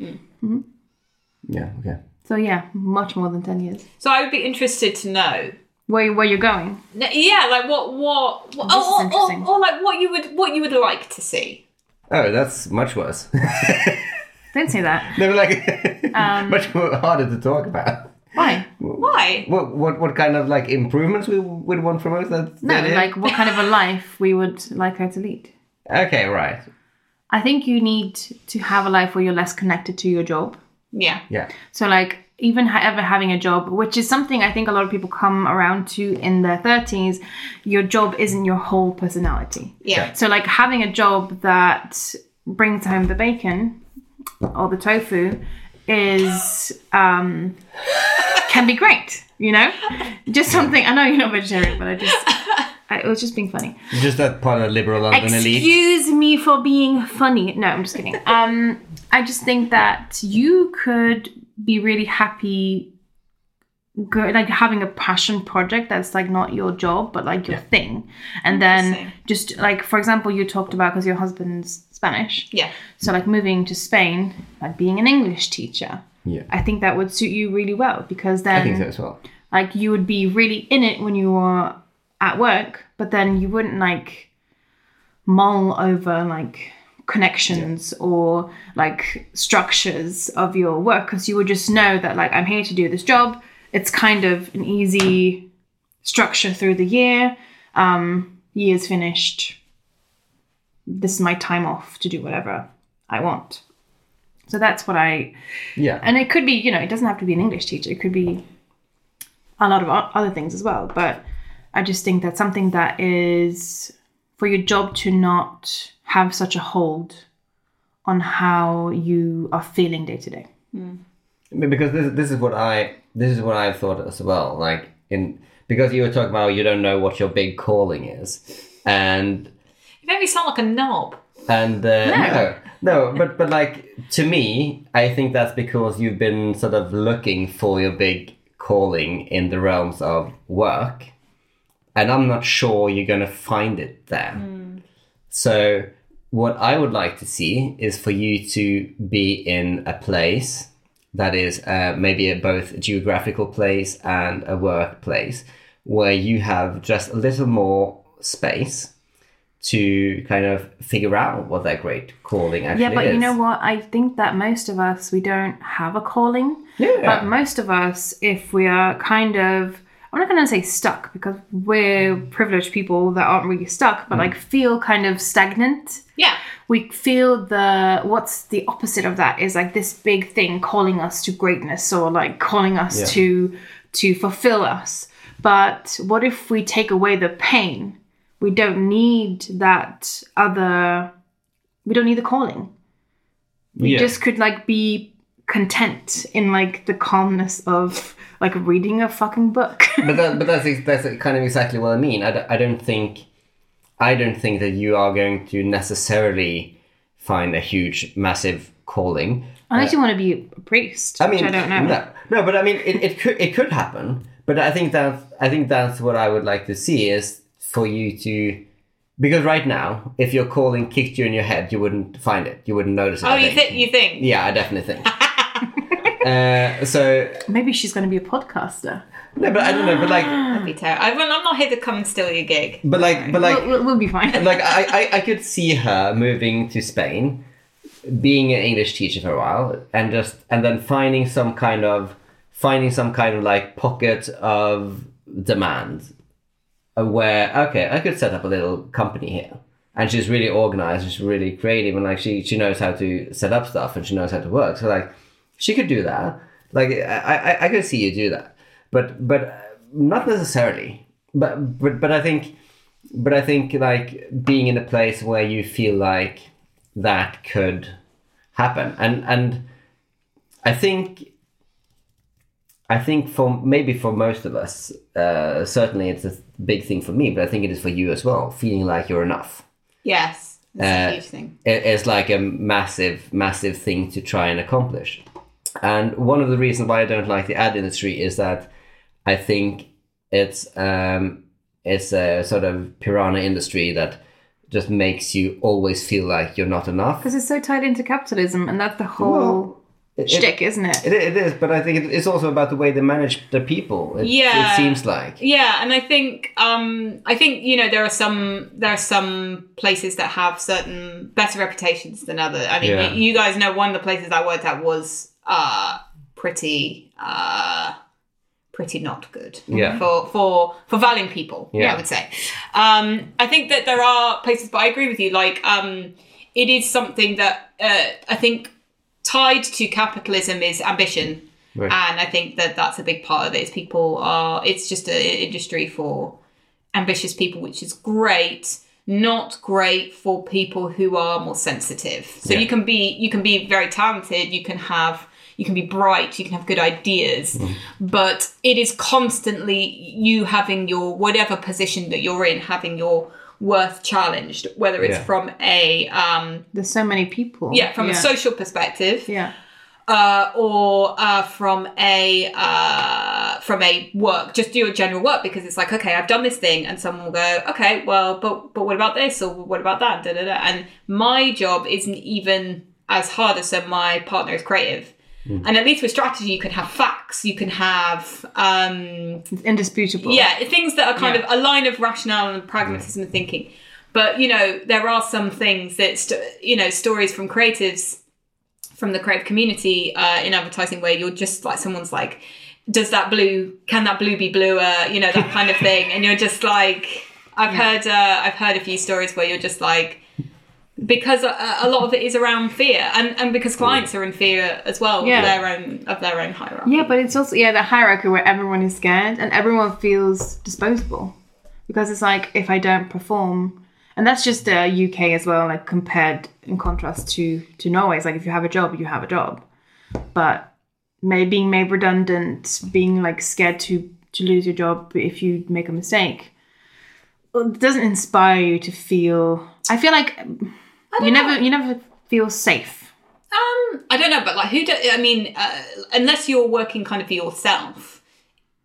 Speaker 2: Yeah. Okay.
Speaker 1: So yeah, much more than 10 years.
Speaker 3: So I would be interested to know
Speaker 1: Where where you're going?
Speaker 3: N- Yeah, like what, what, what
Speaker 1: This is
Speaker 3: or, or,
Speaker 1: interesting.
Speaker 3: or, like what you would, what you would like to see.
Speaker 2: Oh, that's much worse.
Speaker 1: Don't say that.
Speaker 2: they were like
Speaker 1: Um,
Speaker 2: much more harder to talk about.
Speaker 1: Why?
Speaker 3: Why?
Speaker 2: What what what kind of like improvements we would want from us? That,
Speaker 1: No,
Speaker 2: that it?
Speaker 1: like what kind of a life we would like her to lead.
Speaker 2: okay, right,
Speaker 1: I think you need to have a life where you're less connected to your job.
Speaker 3: Yeah,
Speaker 2: yeah,
Speaker 1: So like even ha- ever having a job, which is something I think a lot of people come around to in their 30s, your job isn't your whole personality.
Speaker 3: yeah,
Speaker 1: So like having a job that brings home the bacon or the tofu is um can be great, you know? Just something I know you're not vegetarian, but I just I, it was just being funny.
Speaker 2: just that part of liberal London elite.
Speaker 1: Excuse me for being funny. No, I'm just kidding. Um, I just think that you could be really happy, good, like having a passion project that's like not your job but like your thing, and then
Speaker 3: Interesting.
Speaker 1: just like for example, you talked about because your husband's Spanish,
Speaker 3: yeah.
Speaker 1: so like moving to Spain, like being an English teacher.
Speaker 2: Yeah,
Speaker 1: I think that would suit you really well because then
Speaker 2: I think so as well.
Speaker 1: like you would be really in it when you were at work but then you wouldn't like mull over like connections or like structures of your work because you would just know that like i'm here to do this job it's kind of an easy structure through the year um year's finished this is my time off to do whatever i want so that's what i
Speaker 2: Yeah,
Speaker 1: and it could be you know it doesn't have to be an english teacher it could be a lot of o- other things as well but i just think that's something that is for your job to not have such a hold on how you are feeling day to day
Speaker 2: because this this is what I this is what I thought as well. Like in because you were talking about you don't know what your big calling is, and
Speaker 3: You made me sound like a knob.
Speaker 2: and uh,
Speaker 1: No.
Speaker 2: no. no, but but like to me, I think that's because you've been sort of looking for your big calling in the realms of work, and I'm not sure you're gonna find it there.
Speaker 1: Hmm.
Speaker 2: So what I would like to see is for you to be in a place that is uh, maybe a both geographical place and a workplace where you have just a little more space to kind of figure out what that great calling actually
Speaker 1: yeah
Speaker 2: is.
Speaker 1: but you know what i think that most of us we don't have a calling
Speaker 2: Yeah.
Speaker 1: but most of us if we are kind of i'm not going to say stuck because we're privileged people that aren't really stuck but like feel kind of stagnant
Speaker 3: Yeah,
Speaker 1: we feel the what's the opposite of that is like this big thing calling us to greatness or like calling us
Speaker 2: Yeah.
Speaker 1: to to fulfill us but what if we take away the pain we don't need that other we don't need the calling we
Speaker 2: Yeah.
Speaker 1: just could like be content in like the calmness of like reading a fucking book
Speaker 2: but that, but that's ex- that's kind of exactly what I mean. I, d- I don't think I don't think that you are going to necessarily find a huge massive calling.
Speaker 1: unless you want to be a priest
Speaker 2: I mean,
Speaker 1: which i don't know
Speaker 2: No, no, but I mean, it, it could it could happen. But I think that I think that's what I would like to see is for you to. Because right now, if your calling kicked you in your head, you wouldn't find it. You wouldn't notice it.
Speaker 3: Oh,
Speaker 2: I
Speaker 3: you think you think?
Speaker 2: Yeah, I definitely think. uh, so
Speaker 1: maybe she's going to be a podcaster
Speaker 2: no, but I don't know. But like,
Speaker 3: That'd be terrible. I'm I'm not here to come and steal your gig.
Speaker 2: but like, but like,
Speaker 1: we'll, we'll, we'll be fine
Speaker 2: like I, I, I could see her moving to Spain, being an English teacher for a while, and just and then finding some kind of finding some kind of like pocket of demand, uh, where okay, I could set up a little company here, and she's really organized, and she's really creative, and like she she knows how to set up stuff, and she knows how to work. So like, she could do that. Like I I, I could see you do that, but but uh, not necessarily. But but but I think but I think like being in a place where you feel like that could happen, and and I think I think for maybe for most of us, uh, certainly it's a big thing for me, but I think it is for you as well. Feeling like you're enough.
Speaker 3: Yes, that's
Speaker 2: Uh,
Speaker 3: a huge thing.
Speaker 2: It- it's like a massive, massive thing to try and accomplish. And one of the reasons why I don't like the ad industry is that I think it's um, it's a sort of piranha industry that just makes you always feel like you're not enough.
Speaker 1: Because it's so tied into capitalism, and that's the whole
Speaker 2: Well, It- it-
Speaker 1: shtick, isn't it?
Speaker 2: It, it is, but I think it, it's also about the way they manage the people. It,
Speaker 3: Yeah.
Speaker 2: it seems like
Speaker 3: Yeah, and I think um, I think you know there are some there are some places that have certain better reputations than other. I mean,
Speaker 2: Yeah.
Speaker 3: you, you guys know one of the places I worked at was uh, pretty uh, pretty not good.
Speaker 2: Yeah.
Speaker 3: for for for valuing people. Yeah,
Speaker 2: Yeah.
Speaker 3: I would say. Um, I think that there are places, but I agree with you. Like, um, it is something that uh, I think tied to capitalism is ambition
Speaker 2: Right.
Speaker 3: and i think that that's a big part of it is people are it's just an industry for ambitious people which is great not great for people who are more sensitive so
Speaker 2: Yeah.
Speaker 3: you can be you can be very talented you can have you can be bright you can have good ideas
Speaker 2: Mm-hmm.
Speaker 3: but it is constantly you having your whatever position that you're in having your worth challenged whether it's
Speaker 2: Yeah.
Speaker 3: from a um
Speaker 1: There's so many people.
Speaker 3: yeah from
Speaker 1: yeah.
Speaker 3: a social perspective
Speaker 1: Yeah.
Speaker 3: uh, or uh, from a uh, from a work, just do your general work because it's like, okay, I've done this thing, and someone will go, okay, well, but but what about this or what about that? Da, da, da. And my job isn't even as hard as so my partner is creative, and at least with strategy, you can have facts, you can have um,
Speaker 1: It's indisputable.
Speaker 3: yeah, things that are kind of a line of rationale and pragmatism and thinking. But you know, there are some things that st- you know stories from creatives, from the creative community uh, in advertising, where you're just like someone's like, "Does that blue? Can that blue be bluer?" You know that kind of thing, and you're just like, "I've heard, uh, I've heard a few stories where you're just like." Because uh, a, a lot of it is around fear, and, and because clients are in fear as well
Speaker 1: Yeah.
Speaker 3: of their own of their own hierarchy.
Speaker 1: Yeah, but it's also yeah the hierarchy where everyone is scared and everyone feels disposable because it's like if I don't perform, and that's just the UK as well, like compared in contrast to to Norway. It's like if you have a job, you have a job, but maybe being made redundant, being like scared to to lose your job if you make a mistake, well, it doesn't inspire you to feel. I feel like you never you never feel safe.
Speaker 3: Um, I don't know, but like, who? Do, I mean, uh, unless you're working kind of for yourself,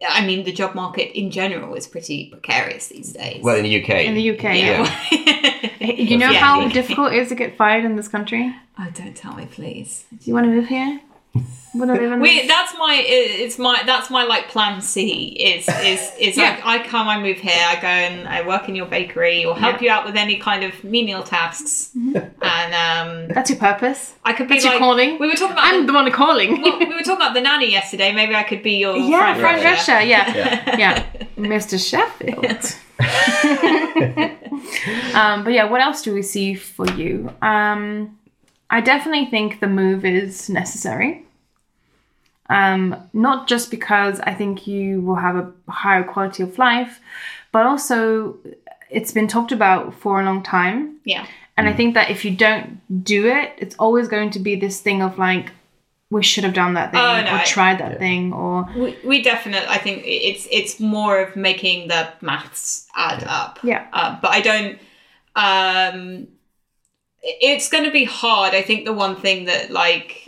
Speaker 3: I mean, the job market in general is pretty precarious these days.
Speaker 2: well in the UK.
Speaker 1: In the UK, yeah.
Speaker 2: yeah,
Speaker 1: You know
Speaker 2: Yeah.
Speaker 1: how difficult it is to get fired in this country?
Speaker 3: oh, don't tell me, please.
Speaker 1: Do you want to move here? Want to live in
Speaker 3: We, that's my it's my that's my like plan C is is is
Speaker 1: Yeah.
Speaker 3: like I come I move here I go and I work in your bakery or help you out with any kind of menial tasks and um
Speaker 1: That's your purpose.
Speaker 3: I could be
Speaker 1: That's your
Speaker 3: like
Speaker 1: Mm-hmm. calling.
Speaker 3: we were talking about
Speaker 1: I'm the one calling.
Speaker 3: well, we were talking about the nanny yesterday maybe I could be your
Speaker 1: yeah,
Speaker 3: friend
Speaker 1: Frank
Speaker 3: Russia.
Speaker 1: Russia. Yeah.
Speaker 2: Yeah.
Speaker 1: yeah, Mr. Sheffield. um, but yeah, what else do we see for you? Um, I definitely think the move is necessary. Um, not just because I think you will have a higher quality of life, but also it's been talked about for a long time.
Speaker 3: yeah
Speaker 1: And I think that if you don't do it, it's always going to be this thing of like, we should have done that thing
Speaker 3: Oh, no.
Speaker 1: or tried that thing or
Speaker 3: We, we definitely, I think it's it's more of making the maths add up.
Speaker 1: Yeah.
Speaker 3: Uh, but I don't. Um, it's going to be hard. I think the one thing that like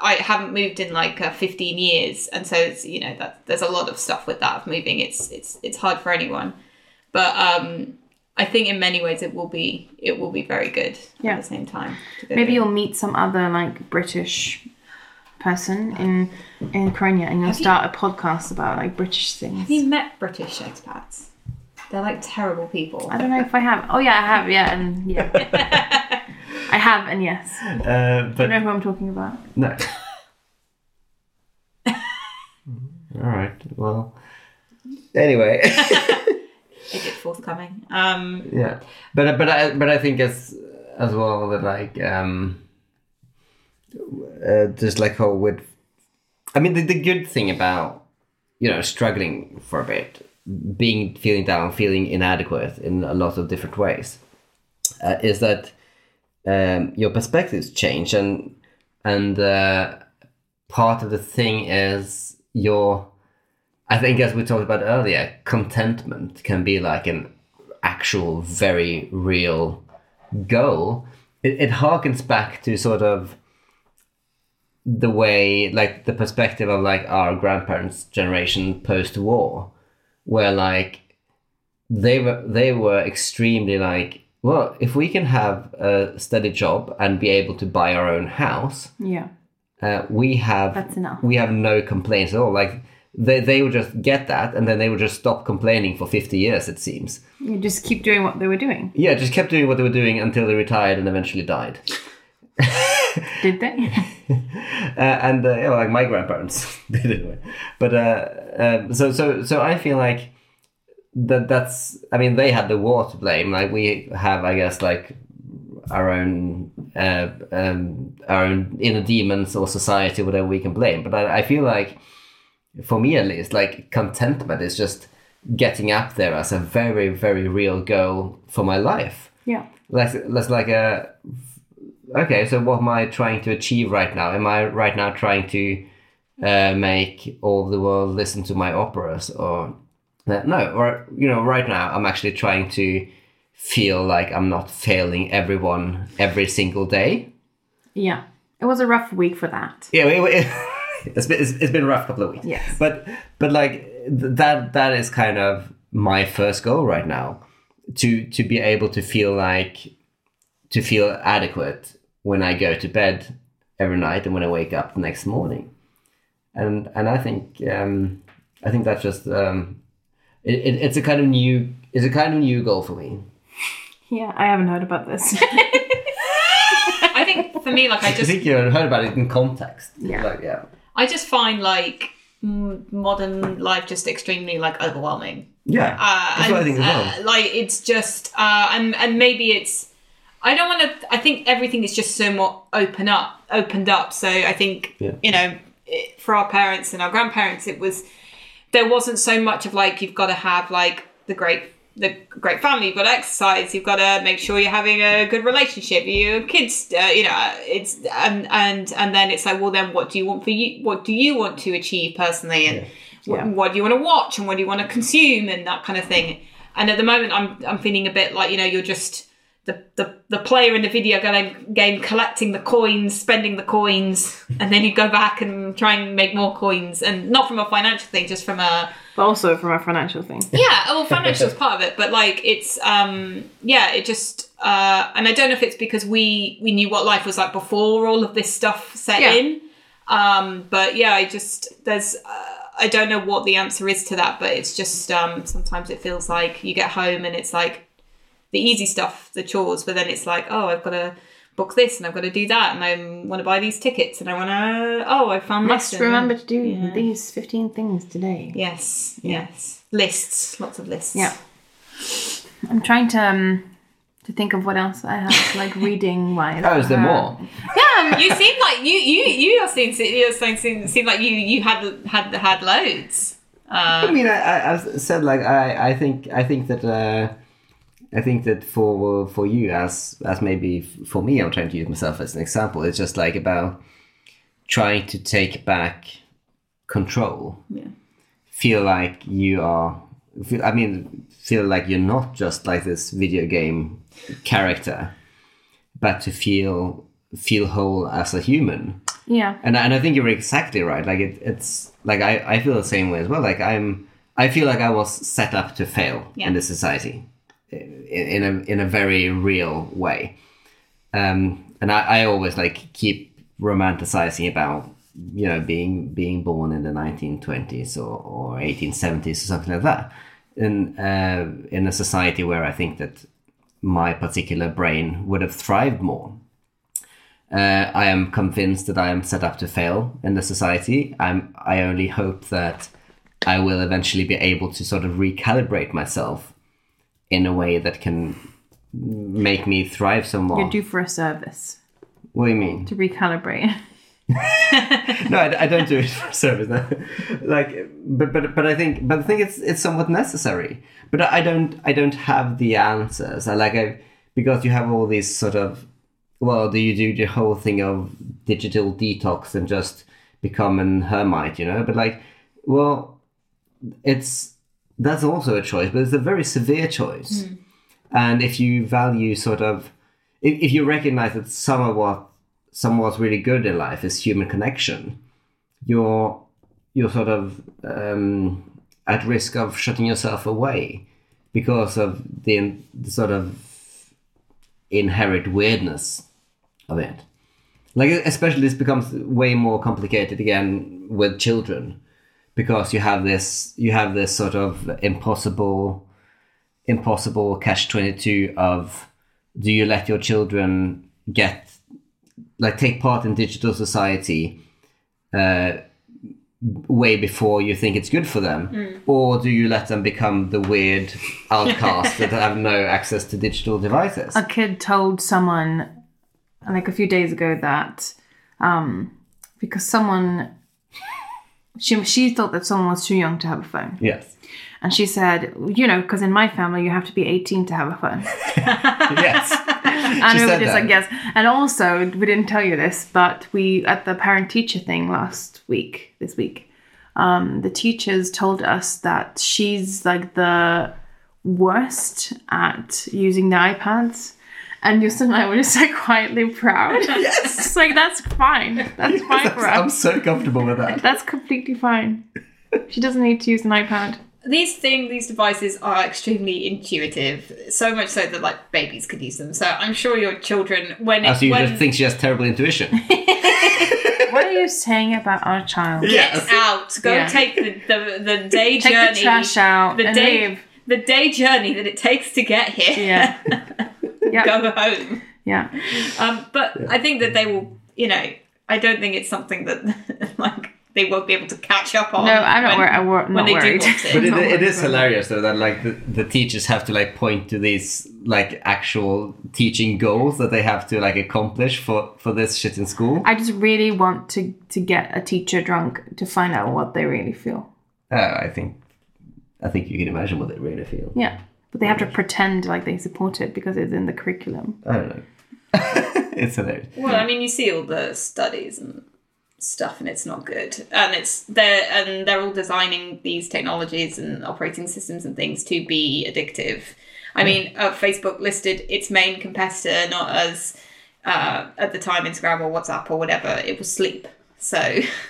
Speaker 3: I haven't moved in like uh, 15 years, and so it's you know that there's a lot of stuff with that of moving. It's it's it's hard for anyone, but um, I think in many ways it will be it will be very good
Speaker 1: Yeah.
Speaker 3: at the same time. to go
Speaker 1: maybe
Speaker 3: there.
Speaker 1: you'll meet some other like British person in in Korea and you'll start a podcast about like British things.
Speaker 3: have you met British expats? They're like terrible people.
Speaker 1: I don't know if I have. Oh yeah, I have. Yeah, and yeah. I have and yes. I
Speaker 2: uh,
Speaker 1: don't know
Speaker 2: but
Speaker 1: who I'm talking about.
Speaker 2: no. All right. Well. Anyway.
Speaker 3: is it forthcoming? Um,
Speaker 2: yeah but but i but i think as as well that like um uh, just like how with i mean the, the good thing about you know struggling for a bit being feeling down feeling inadequate in a lot of different ways uh, is that um your perspectives change and and uh part of the thing is your I think as we talked about earlier, contentment can be like an actual very real goal. It, it harkens back to sort of the way like the perspective of like our grandparents generation post war where like they were they were extremely like well if we can have a steady job and be able to buy our own house
Speaker 1: Yeah.
Speaker 2: uh, we have
Speaker 1: That's enough.
Speaker 2: we have no complaints at all like they, they would just get that and then they would just stop complaining for 50 years it seems
Speaker 1: You just keep doing what they were doing,
Speaker 2: yeah just kept doing what they were doing until they retired and eventually died
Speaker 1: did they?
Speaker 2: uh, and uh, yeah, well, like my grandparents did it anyway. But uh, um, so so so I feel like that that's I mean they had the war to blame. Like we have, I guess, like our own uh, um, our own inner demons or society, whatever we can blame. But I, I feel like for me at least, like contentment is just getting up there as a very very real goal for my life
Speaker 1: yeah.
Speaker 2: less less like a okay so what am i trying to achieve right now am i right now trying to uh, make all the world listen to my operas or that no or you know right now i'm actually trying to feel like i'm not failing everyone every single day
Speaker 1: Yeah. It was a rough week for that.
Speaker 2: yeah it, it, has been, it's, it's been a rough couple of weeks
Speaker 1: Yes.
Speaker 2: but but like th- that that is kind of my first goal right now to to be able to feel like to feel adequate when I go to bed every night and when I wake up the next morning, and and I think um, I think that's just um, it, it, it's a kind of new it's a kind of new goal for me.
Speaker 1: Yeah, I haven't heard about this.
Speaker 3: I think for me, like I
Speaker 2: I
Speaker 3: just
Speaker 2: think you heard about it in context.
Speaker 1: Yeah.
Speaker 2: like, yeah,
Speaker 3: I just find like m- modern life just extremely like overwhelming.
Speaker 2: yeah.
Speaker 3: Uh,
Speaker 2: that's what I
Speaker 3: and,
Speaker 2: think as well.
Speaker 3: uh, like it's just uh, and and maybe it's I don't want to. I think everything is just so more open up, opened up. So I think
Speaker 2: Yeah.
Speaker 3: you know, it, for our parents and our grandparents, it was there wasn't so much of like you've got to have like the great the great family you've got to exercise you've got to make sure you're having a good relationship your kids uh, you know it's and and and then it's like well then what do you want for you what do you want to achieve personally and wh-
Speaker 1: Yeah.
Speaker 3: what do you want to watch and what do you want to consume and that kind of thing and at the moment i'm i'm feeling a bit like you know you're just the, the, the player in the video game, game collecting the coins, spending the coins, and then you go back and try and make more coins. And not from a financial thing, just from a.
Speaker 1: but also from a financial thing.
Speaker 3: Yeah, oh, well, financial is part of it, but like it's. um Yeah, it just. uh And I don't know if it's because we we knew what life was like before all of this stuff set
Speaker 1: Yeah.
Speaker 3: in. Um, but yeah, I just. There's. Uh, I don't know what the answer is to that, but it's just um, sometimes it feels like you get home and it's like the easy stuff, the chores, but then it's like, oh, I've got to book this and I've got to do that and I want to buy these tickets and I want to, oh, I found
Speaker 1: Must
Speaker 3: this and-
Speaker 1: remember to do
Speaker 3: Yeah.
Speaker 1: these 15 things today.
Speaker 3: Yes, yes. Lists, lots of lists.
Speaker 1: Yeah. I'm trying to um, to think of what else I have, like reading wise.
Speaker 2: Oh, is there
Speaker 1: Uh,
Speaker 2: more?
Speaker 3: Yeah, you seem like you you you are seem you're saying seem, seem like you you had had had loads.
Speaker 2: I mean, I, I, I've said like I, I think I think that uh, I think that for for you as as maybe for me, I'm trying to use myself as an example. It's just like about trying to take back control.
Speaker 3: Yeah.
Speaker 2: Feel like you are. Feel, I mean, feel like you're not just like this video game character, but to feel feel whole as a human
Speaker 1: Yeah.
Speaker 2: and I- and I think you're exactly right. Like it, it's like I, I feel the same way as well. Like I'm I feel like I was set up to fail
Speaker 3: Yeah.
Speaker 2: in this society, in, in a in a very real way. Um, and I, I always like keep romanticizing about you know being being born in the 1920s or, or 1870s or something like that in uh, in a society where I think that my particular brain would have thrived more uh, I am convinced that I am set up to fail in the society. I'm. I only hope that I will eventually be able to sort of recalibrate myself in a way that can make me thrive somewhat.
Speaker 1: You're due for a service
Speaker 2: what do you mean?
Speaker 1: to recalibrate.
Speaker 2: no, I, I don't do it for service. No. like, but but but I think but I think it's it's somewhat necessary. But I, I don't I don't have the answers. I like I because you have all these sort of well, do you do the whole thing of digital detox and just become an hermit? You know, but like Well, it's that's also a choice, but it's a very severe choice. And if you value sort of, if, if you recognize that some of what someone's really good in life is human connection, you're you're sort of um, at risk of shutting yourself away because of the, in- the sort of inherent weirdness of it. Like especially this becomes way more complicated again with children because you have this you have this sort of impossible impossible catch 22 of do you let your children get like take part in digital society uh, way before you think it's good for them or do you let them become the weird outcasts that have no access to digital devices
Speaker 1: a kid told someone like a few days ago that um, because someone she she thought that someone was too young to have a phone,
Speaker 2: yes
Speaker 1: and she said, you know, because in my family you have to be eighteen to have a phone.
Speaker 2: yes
Speaker 1: And
Speaker 2: She
Speaker 1: we were
Speaker 2: said
Speaker 1: just
Speaker 2: that.
Speaker 1: like, yes. And also, we didn't tell you this, but we at the parent teacher thing last week, this week, um, the teachers told us that she's like the worst at using the iPads. And Justin and I were just like quietly proud. Yes. it's like, that's fine. That's fine for
Speaker 2: I'm
Speaker 1: us.
Speaker 2: so comfortable with that.
Speaker 1: That's completely fine. She doesn't need to use an iPad.
Speaker 3: these thing these devices are extremely intuitive so much so that like babies could use them so i'm sure your children when
Speaker 2: As you
Speaker 3: when
Speaker 2: just think she has terrible intuition.
Speaker 1: What are you saying about our child?
Speaker 3: get
Speaker 2: Yes.
Speaker 3: out go
Speaker 1: Yeah.
Speaker 3: take the, the the day
Speaker 1: Take
Speaker 3: journey
Speaker 1: the trash out
Speaker 3: the
Speaker 1: and
Speaker 3: day
Speaker 1: leave.
Speaker 3: the day journey that it takes to get here
Speaker 1: Yeah. yeah.
Speaker 3: go home
Speaker 1: Yeah.
Speaker 3: um but i think that they will you know i don't think it's something that like they won't be able to catch up on
Speaker 1: No, I'm not
Speaker 3: when-
Speaker 1: worried. I'm wor- not
Speaker 3: when they
Speaker 1: worried.
Speaker 3: do want it.
Speaker 2: But it,
Speaker 1: Not
Speaker 2: it is
Speaker 1: working.
Speaker 2: hilarious though that like the, the teachers have to like point to these like actual teaching goals that they have to like accomplish for for this shit in school.
Speaker 1: I just really want to to get a teacher drunk to find out what they really feel.
Speaker 2: Uh, I think I think you can imagine what they really feel.
Speaker 1: Yeah. But they have to pretend like they support it because it's in the curriculum.
Speaker 2: I don't know. it's hilarious.
Speaker 3: Well, I mean, you see all the studies and stuff, and it's not good. And it's they're and they're all designing these technologies and operating systems and things to be addictive. I mean, uh, Facebook listed its main competitor not as uh, at the time Instagram or WhatsApp or whatever. It was sleep. So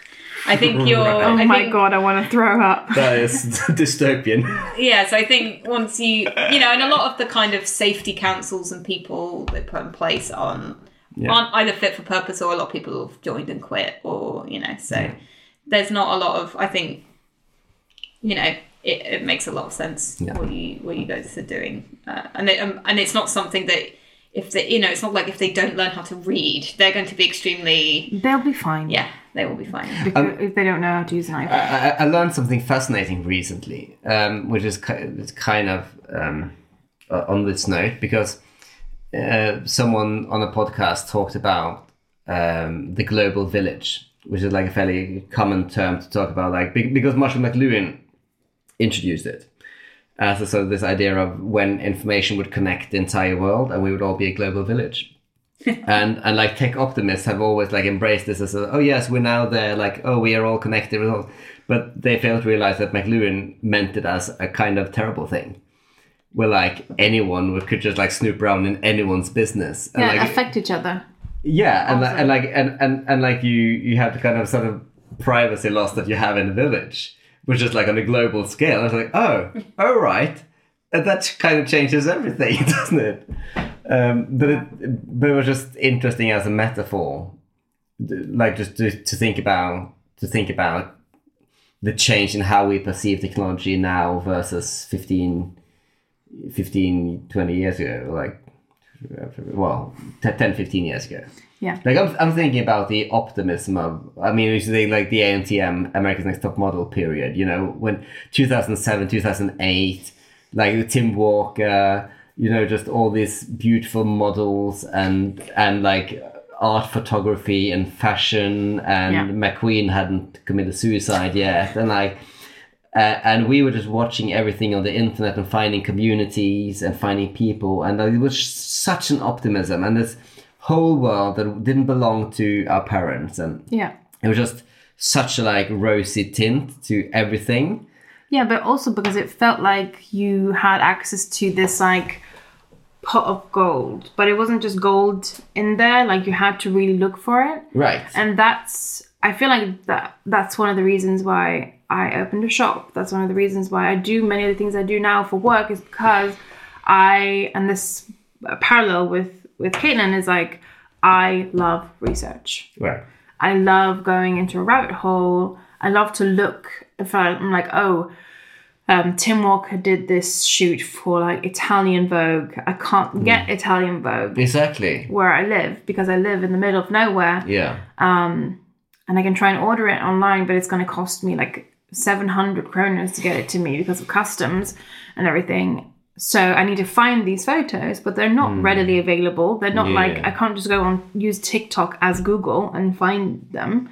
Speaker 3: I think you're.
Speaker 1: Oh
Speaker 3: I
Speaker 1: my
Speaker 3: think-
Speaker 1: god, I want to throw up.
Speaker 2: That is dystopian.
Speaker 3: yeah, so I think once you, you know, and a lot of the kind of safety councils and people they put in place on aren't either fit for purpose or a lot of people have joined and quit or you know, so there's not a lot of I think, you know, it, it makes a lot of sense
Speaker 2: Yeah.
Speaker 3: what you what you guys are doing, uh, and it, um, and it's not something that if they, you know, it's not like if they don't learn how to read, they're going to be extremely,
Speaker 1: They'll be fine.
Speaker 3: yeah, they will be fine.
Speaker 1: Because if they don't know how to use an iPad.
Speaker 2: Um, I, I- I learned something fascinating recently, um, which is ki- it's kind of um, uh, on this note because uh, someone on a podcast talked about um, the global village, which is like a fairly common term to talk about, like be- because Marshall McLuhan introduced it as a sort of this idea of when information would connect the entire world and we would all be a global village. and and like tech optimists have always like embraced this as a, oh yes we're now there like oh we are all connected with all but they fail to realize that McLuhan meant it as a kind of terrible thing where like anyone would, could just like snoop around in anyone's business and
Speaker 1: yeah,
Speaker 2: like
Speaker 1: affect each other.
Speaker 2: yeah and, like- and like and, and and like you you have the kind of sort of privacy loss that you have in the village which is like on a global scale and it's like oh all right and that kind of changes everything doesn't it um, but it but it was just interesting as a metaphor d- like just to, to think about to think about the change in how we perceive technology now versus 15 15 20 years ago like well 10 15 years ago
Speaker 1: Yeah.
Speaker 2: like I'm, I'm thinking about the optimism of I mean it's the, like the ANTM America's Next Top Model period you know when 2007 2008 like the Tim Walker you know just all these beautiful models and and like art photography and fashion and
Speaker 1: Yeah.
Speaker 2: McQueen hadn't committed suicide yet and like uh, and we were just watching everything on the internet and finding communities and finding people and like, it was such an optimism and this whole world that didn't belong to our parents and
Speaker 1: Yeah.
Speaker 2: it was just such a like rosy tint to everything.
Speaker 1: Yeah, but also because it felt like you had access to this like pot of gold, but it wasn't just gold in there. Like you had to really look for it,
Speaker 2: Right.
Speaker 1: and that's I feel like that that's one of the reasons why I opened a shop. That's one of the reasons why I do many of the things I do now for work is because I and this parallel with with Caitlin is like I love research.
Speaker 2: right.
Speaker 1: I love going into a rabbit hole. I love to look. If I, I'm like, oh, um, Tim Walker did this shoot for like Italian Vogue. I can't get Italian Vogue
Speaker 2: Exactly.
Speaker 1: where I live because I live in the middle of nowhere,
Speaker 2: Yeah.
Speaker 1: and I can try and order it online, but it's going to cost me like 700 kroners to get it to me because of customs and everything. So I need to find these photos, but they're not readily available. They're not like
Speaker 2: Yeah.
Speaker 1: I can't just go on use TikTok as Google and find them.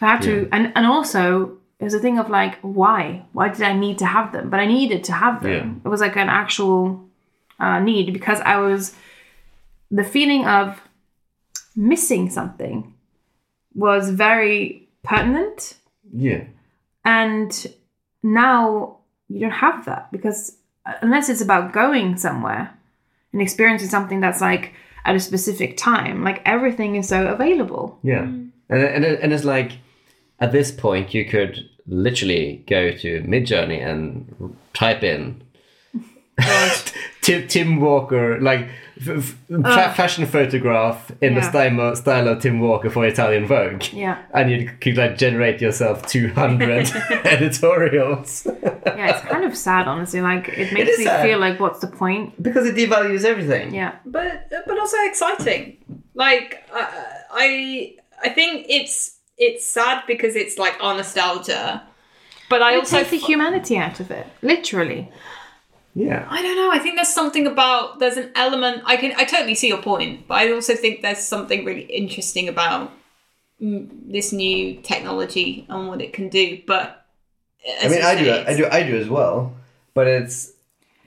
Speaker 1: So I had to, and, and also it was a thing of like, why? Why did I need to have them? But I needed to have them.
Speaker 2: Yeah.
Speaker 1: It was like an actual uh, need because I was, the feeling of missing something was very pertinent.
Speaker 2: Yeah.
Speaker 1: And now you don't have that because uh, unless it's about going somewhere and experiencing something that's like at a specific time, like everything is so available.
Speaker 2: Yeah, and and it- and it's like at this point you could literally go to Midjourney and type in Tim, Tim Walker like f- f- fa- fashion photograph in the
Speaker 1: Oh. Yeah.
Speaker 2: style style of Tim Walker for Italian Vogue.
Speaker 1: Yeah.
Speaker 2: And you could like generate yourself two hundred editorials
Speaker 1: Yeah, it's kind of sad, honestly. Like it makes
Speaker 2: is
Speaker 1: me
Speaker 2: sad.
Speaker 1: feel like, what's the point?
Speaker 2: because it devalues everything.
Speaker 1: Yeah.
Speaker 3: but but also exciting. Like I I I think it's it's sad because it's like our nostalgia, but I
Speaker 1: It
Speaker 3: also
Speaker 1: takes the humanity out of it, literally.
Speaker 2: yeah,
Speaker 3: I don't know. I think there's something about there's an element I can I totally see your point, but I also think there's something really interesting about mm, this new technology and what it can do. But
Speaker 2: I mean, I do, I do, I do as well, but it's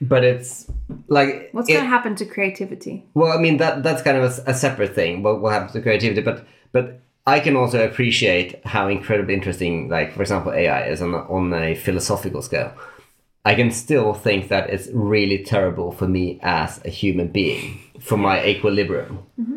Speaker 2: but it's like
Speaker 1: What's
Speaker 2: it-
Speaker 1: going to happen to creativity?
Speaker 2: Well, I mean that that's kind of a s- a, separate thing. What what happens to creativity? But but I can also appreciate how incredibly interesting, like for example, AI is on a- on a philosophical scale. I can still think that it's really terrible for me as a human being for my equilibrium.
Speaker 3: Mm-hmm.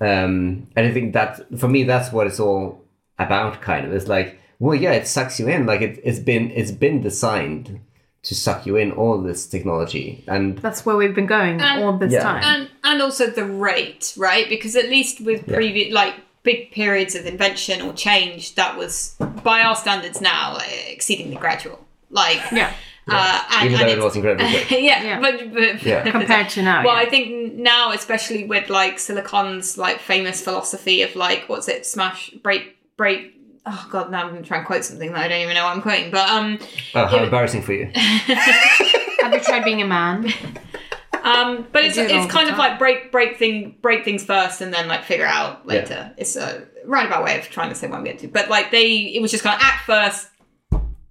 Speaker 2: Um, and I think that for me, that's what it's all about. Kind of, it's like, well, yeah, it sucks you in. Like it, it's been it's been designed to suck you in. All this technology and
Speaker 1: That's where we've been going
Speaker 3: And-
Speaker 1: all this
Speaker 2: Yeah.
Speaker 1: time.
Speaker 3: and and also the rate, right? Because at least with previous like big periods of invention or change, that was by our standards now like, exceedingly gradual. Like
Speaker 1: yeah.
Speaker 3: uh, and,
Speaker 2: even
Speaker 3: and
Speaker 2: though it
Speaker 3: it's-
Speaker 2: was incredibly quick.
Speaker 3: yeah,
Speaker 1: Yeah.
Speaker 3: but, but
Speaker 2: Yeah.
Speaker 1: Compared to now,
Speaker 3: Well,
Speaker 1: yeah.
Speaker 3: I think now, especially with like Silicon's like famous philosophy of like what's it, smash, break, break. Oh god, now I'm gonna try and quote something that I don't even know what I'm quoting, but um,
Speaker 2: Oh, how
Speaker 3: Yeah.
Speaker 2: embarrassing for you.
Speaker 1: Have you tried being a man?
Speaker 3: um, but it's
Speaker 1: do it all
Speaker 3: it's
Speaker 1: the
Speaker 3: kind of
Speaker 1: time.
Speaker 3: like break, break thing, break things first, and then like figure out later. It's a roundabout way of trying to say what I'm getting to, but like they, it was just kind of act first,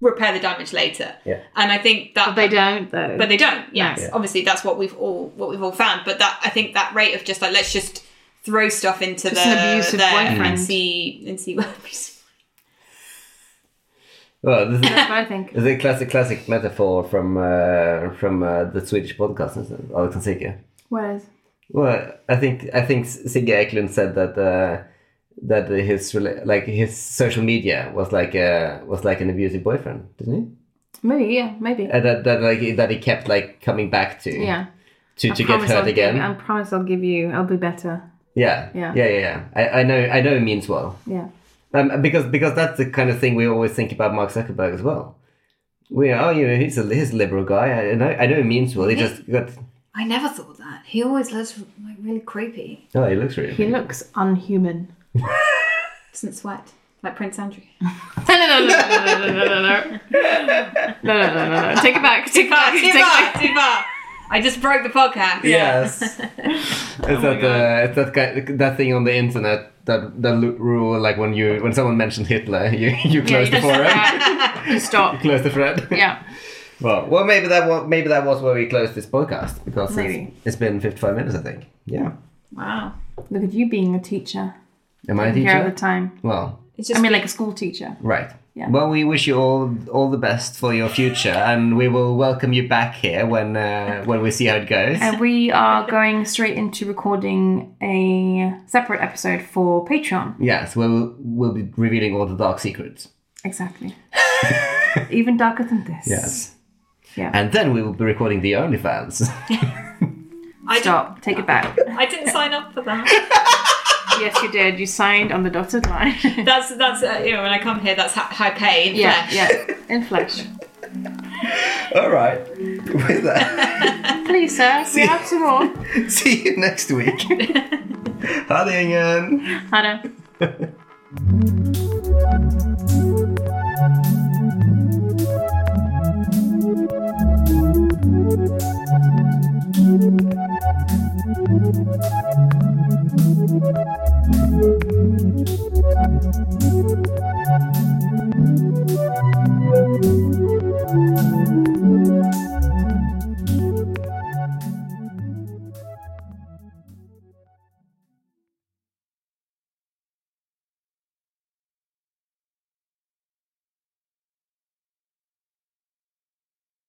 Speaker 3: repair the damage later.
Speaker 2: Yeah.
Speaker 3: and I think
Speaker 1: But
Speaker 3: that
Speaker 1: they don't, though.
Speaker 3: but they don't. Yes,
Speaker 1: Yeah.
Speaker 3: obviously that's what we've all what we've all found. But that I think that rate of just like let's just throw stuff into
Speaker 1: Just
Speaker 3: the
Speaker 1: an abusive
Speaker 3: there
Speaker 1: boyfriend.
Speaker 3: and see and see what happens.
Speaker 2: Well, this is,
Speaker 1: That's what I think.
Speaker 2: this is a classic, classic metaphor from uh, from uh, the Swedish podcast, isn't it? Alex and Sigge.
Speaker 1: Whereas,
Speaker 2: Well, I think I think Sigge Eklund said that uh, that his rela- like his social media was like uh, was like an abusive boyfriend, didn't
Speaker 1: maybe, yeah, maybe.
Speaker 2: he? Uh, that that like that he kept like coming back to
Speaker 1: yeah.
Speaker 2: to,
Speaker 1: I
Speaker 2: to get
Speaker 1: promise I'll give
Speaker 2: hurt again.
Speaker 1: you- I promise I'll give you, I'll be better.
Speaker 2: yeah.
Speaker 1: Yeah.
Speaker 2: yeah, yeah, yeah. I, I know, I know it means well.
Speaker 1: Yeah.
Speaker 2: Um, because because that's the kind of thing we always think about Mark Zuckerberg as well. We are, oh, you know, he's a he's a liberal guy. I I know, I know he means well. He just got.
Speaker 3: I never thought that. He always looks like really creepy.
Speaker 2: Oh, he looks really.
Speaker 1: He looks unhuman.
Speaker 3: Doesn't sweat like Prince Andrew.
Speaker 1: no, no, no, no, no, no, no, no, no. No, no, no, no, no. Take it back. Take it back.
Speaker 3: too
Speaker 1: Take it
Speaker 3: far,
Speaker 1: back.
Speaker 3: too far. I just broke the podcast.
Speaker 2: Yes. it's that uh, it's that guy, that thing on the internet that that lu- rule like when you when someone mentioned Hitler, you you close the forum,
Speaker 1: You stop.
Speaker 2: you close the thread.
Speaker 1: Yeah.
Speaker 2: Well, well, maybe that was maybe that was where we closed this podcast because it's-
Speaker 1: Maybe.
Speaker 2: it's been fifty five minutes, I think. Yeah.
Speaker 3: Wow.
Speaker 1: Look at you being a teacher.
Speaker 2: Am I a
Speaker 1: Taking care of
Speaker 2: teacher?
Speaker 1: the time.
Speaker 2: Well,
Speaker 3: It's just
Speaker 1: I mean, like a school teacher.
Speaker 2: Right.
Speaker 1: Yeah.
Speaker 2: Well, we wish you all all the best for your future, and we will welcome you back here when uh, when we see how it goes.
Speaker 1: And we are going straight into recording a separate episode for Patreon.
Speaker 2: Yes, we'll we'll be revealing all the dark secrets,
Speaker 1: Exactly. Even darker than this.
Speaker 2: Yes.
Speaker 1: Yeah.
Speaker 2: and then we will be recording the OnlyFans.
Speaker 3: I didn't,
Speaker 1: Stop. Take it back.
Speaker 3: I didn't sign up for that.
Speaker 1: yes, you did. You signed on the dotted line.
Speaker 3: That's that's uh, you know when I come here, that's how, how I pay in
Speaker 1: yeah.
Speaker 3: flesh.
Speaker 1: Yeah. In flesh.
Speaker 2: all right. With that,
Speaker 1: Please, sir. We have some more.
Speaker 2: see you next week. Hi,
Speaker 1: Hannah.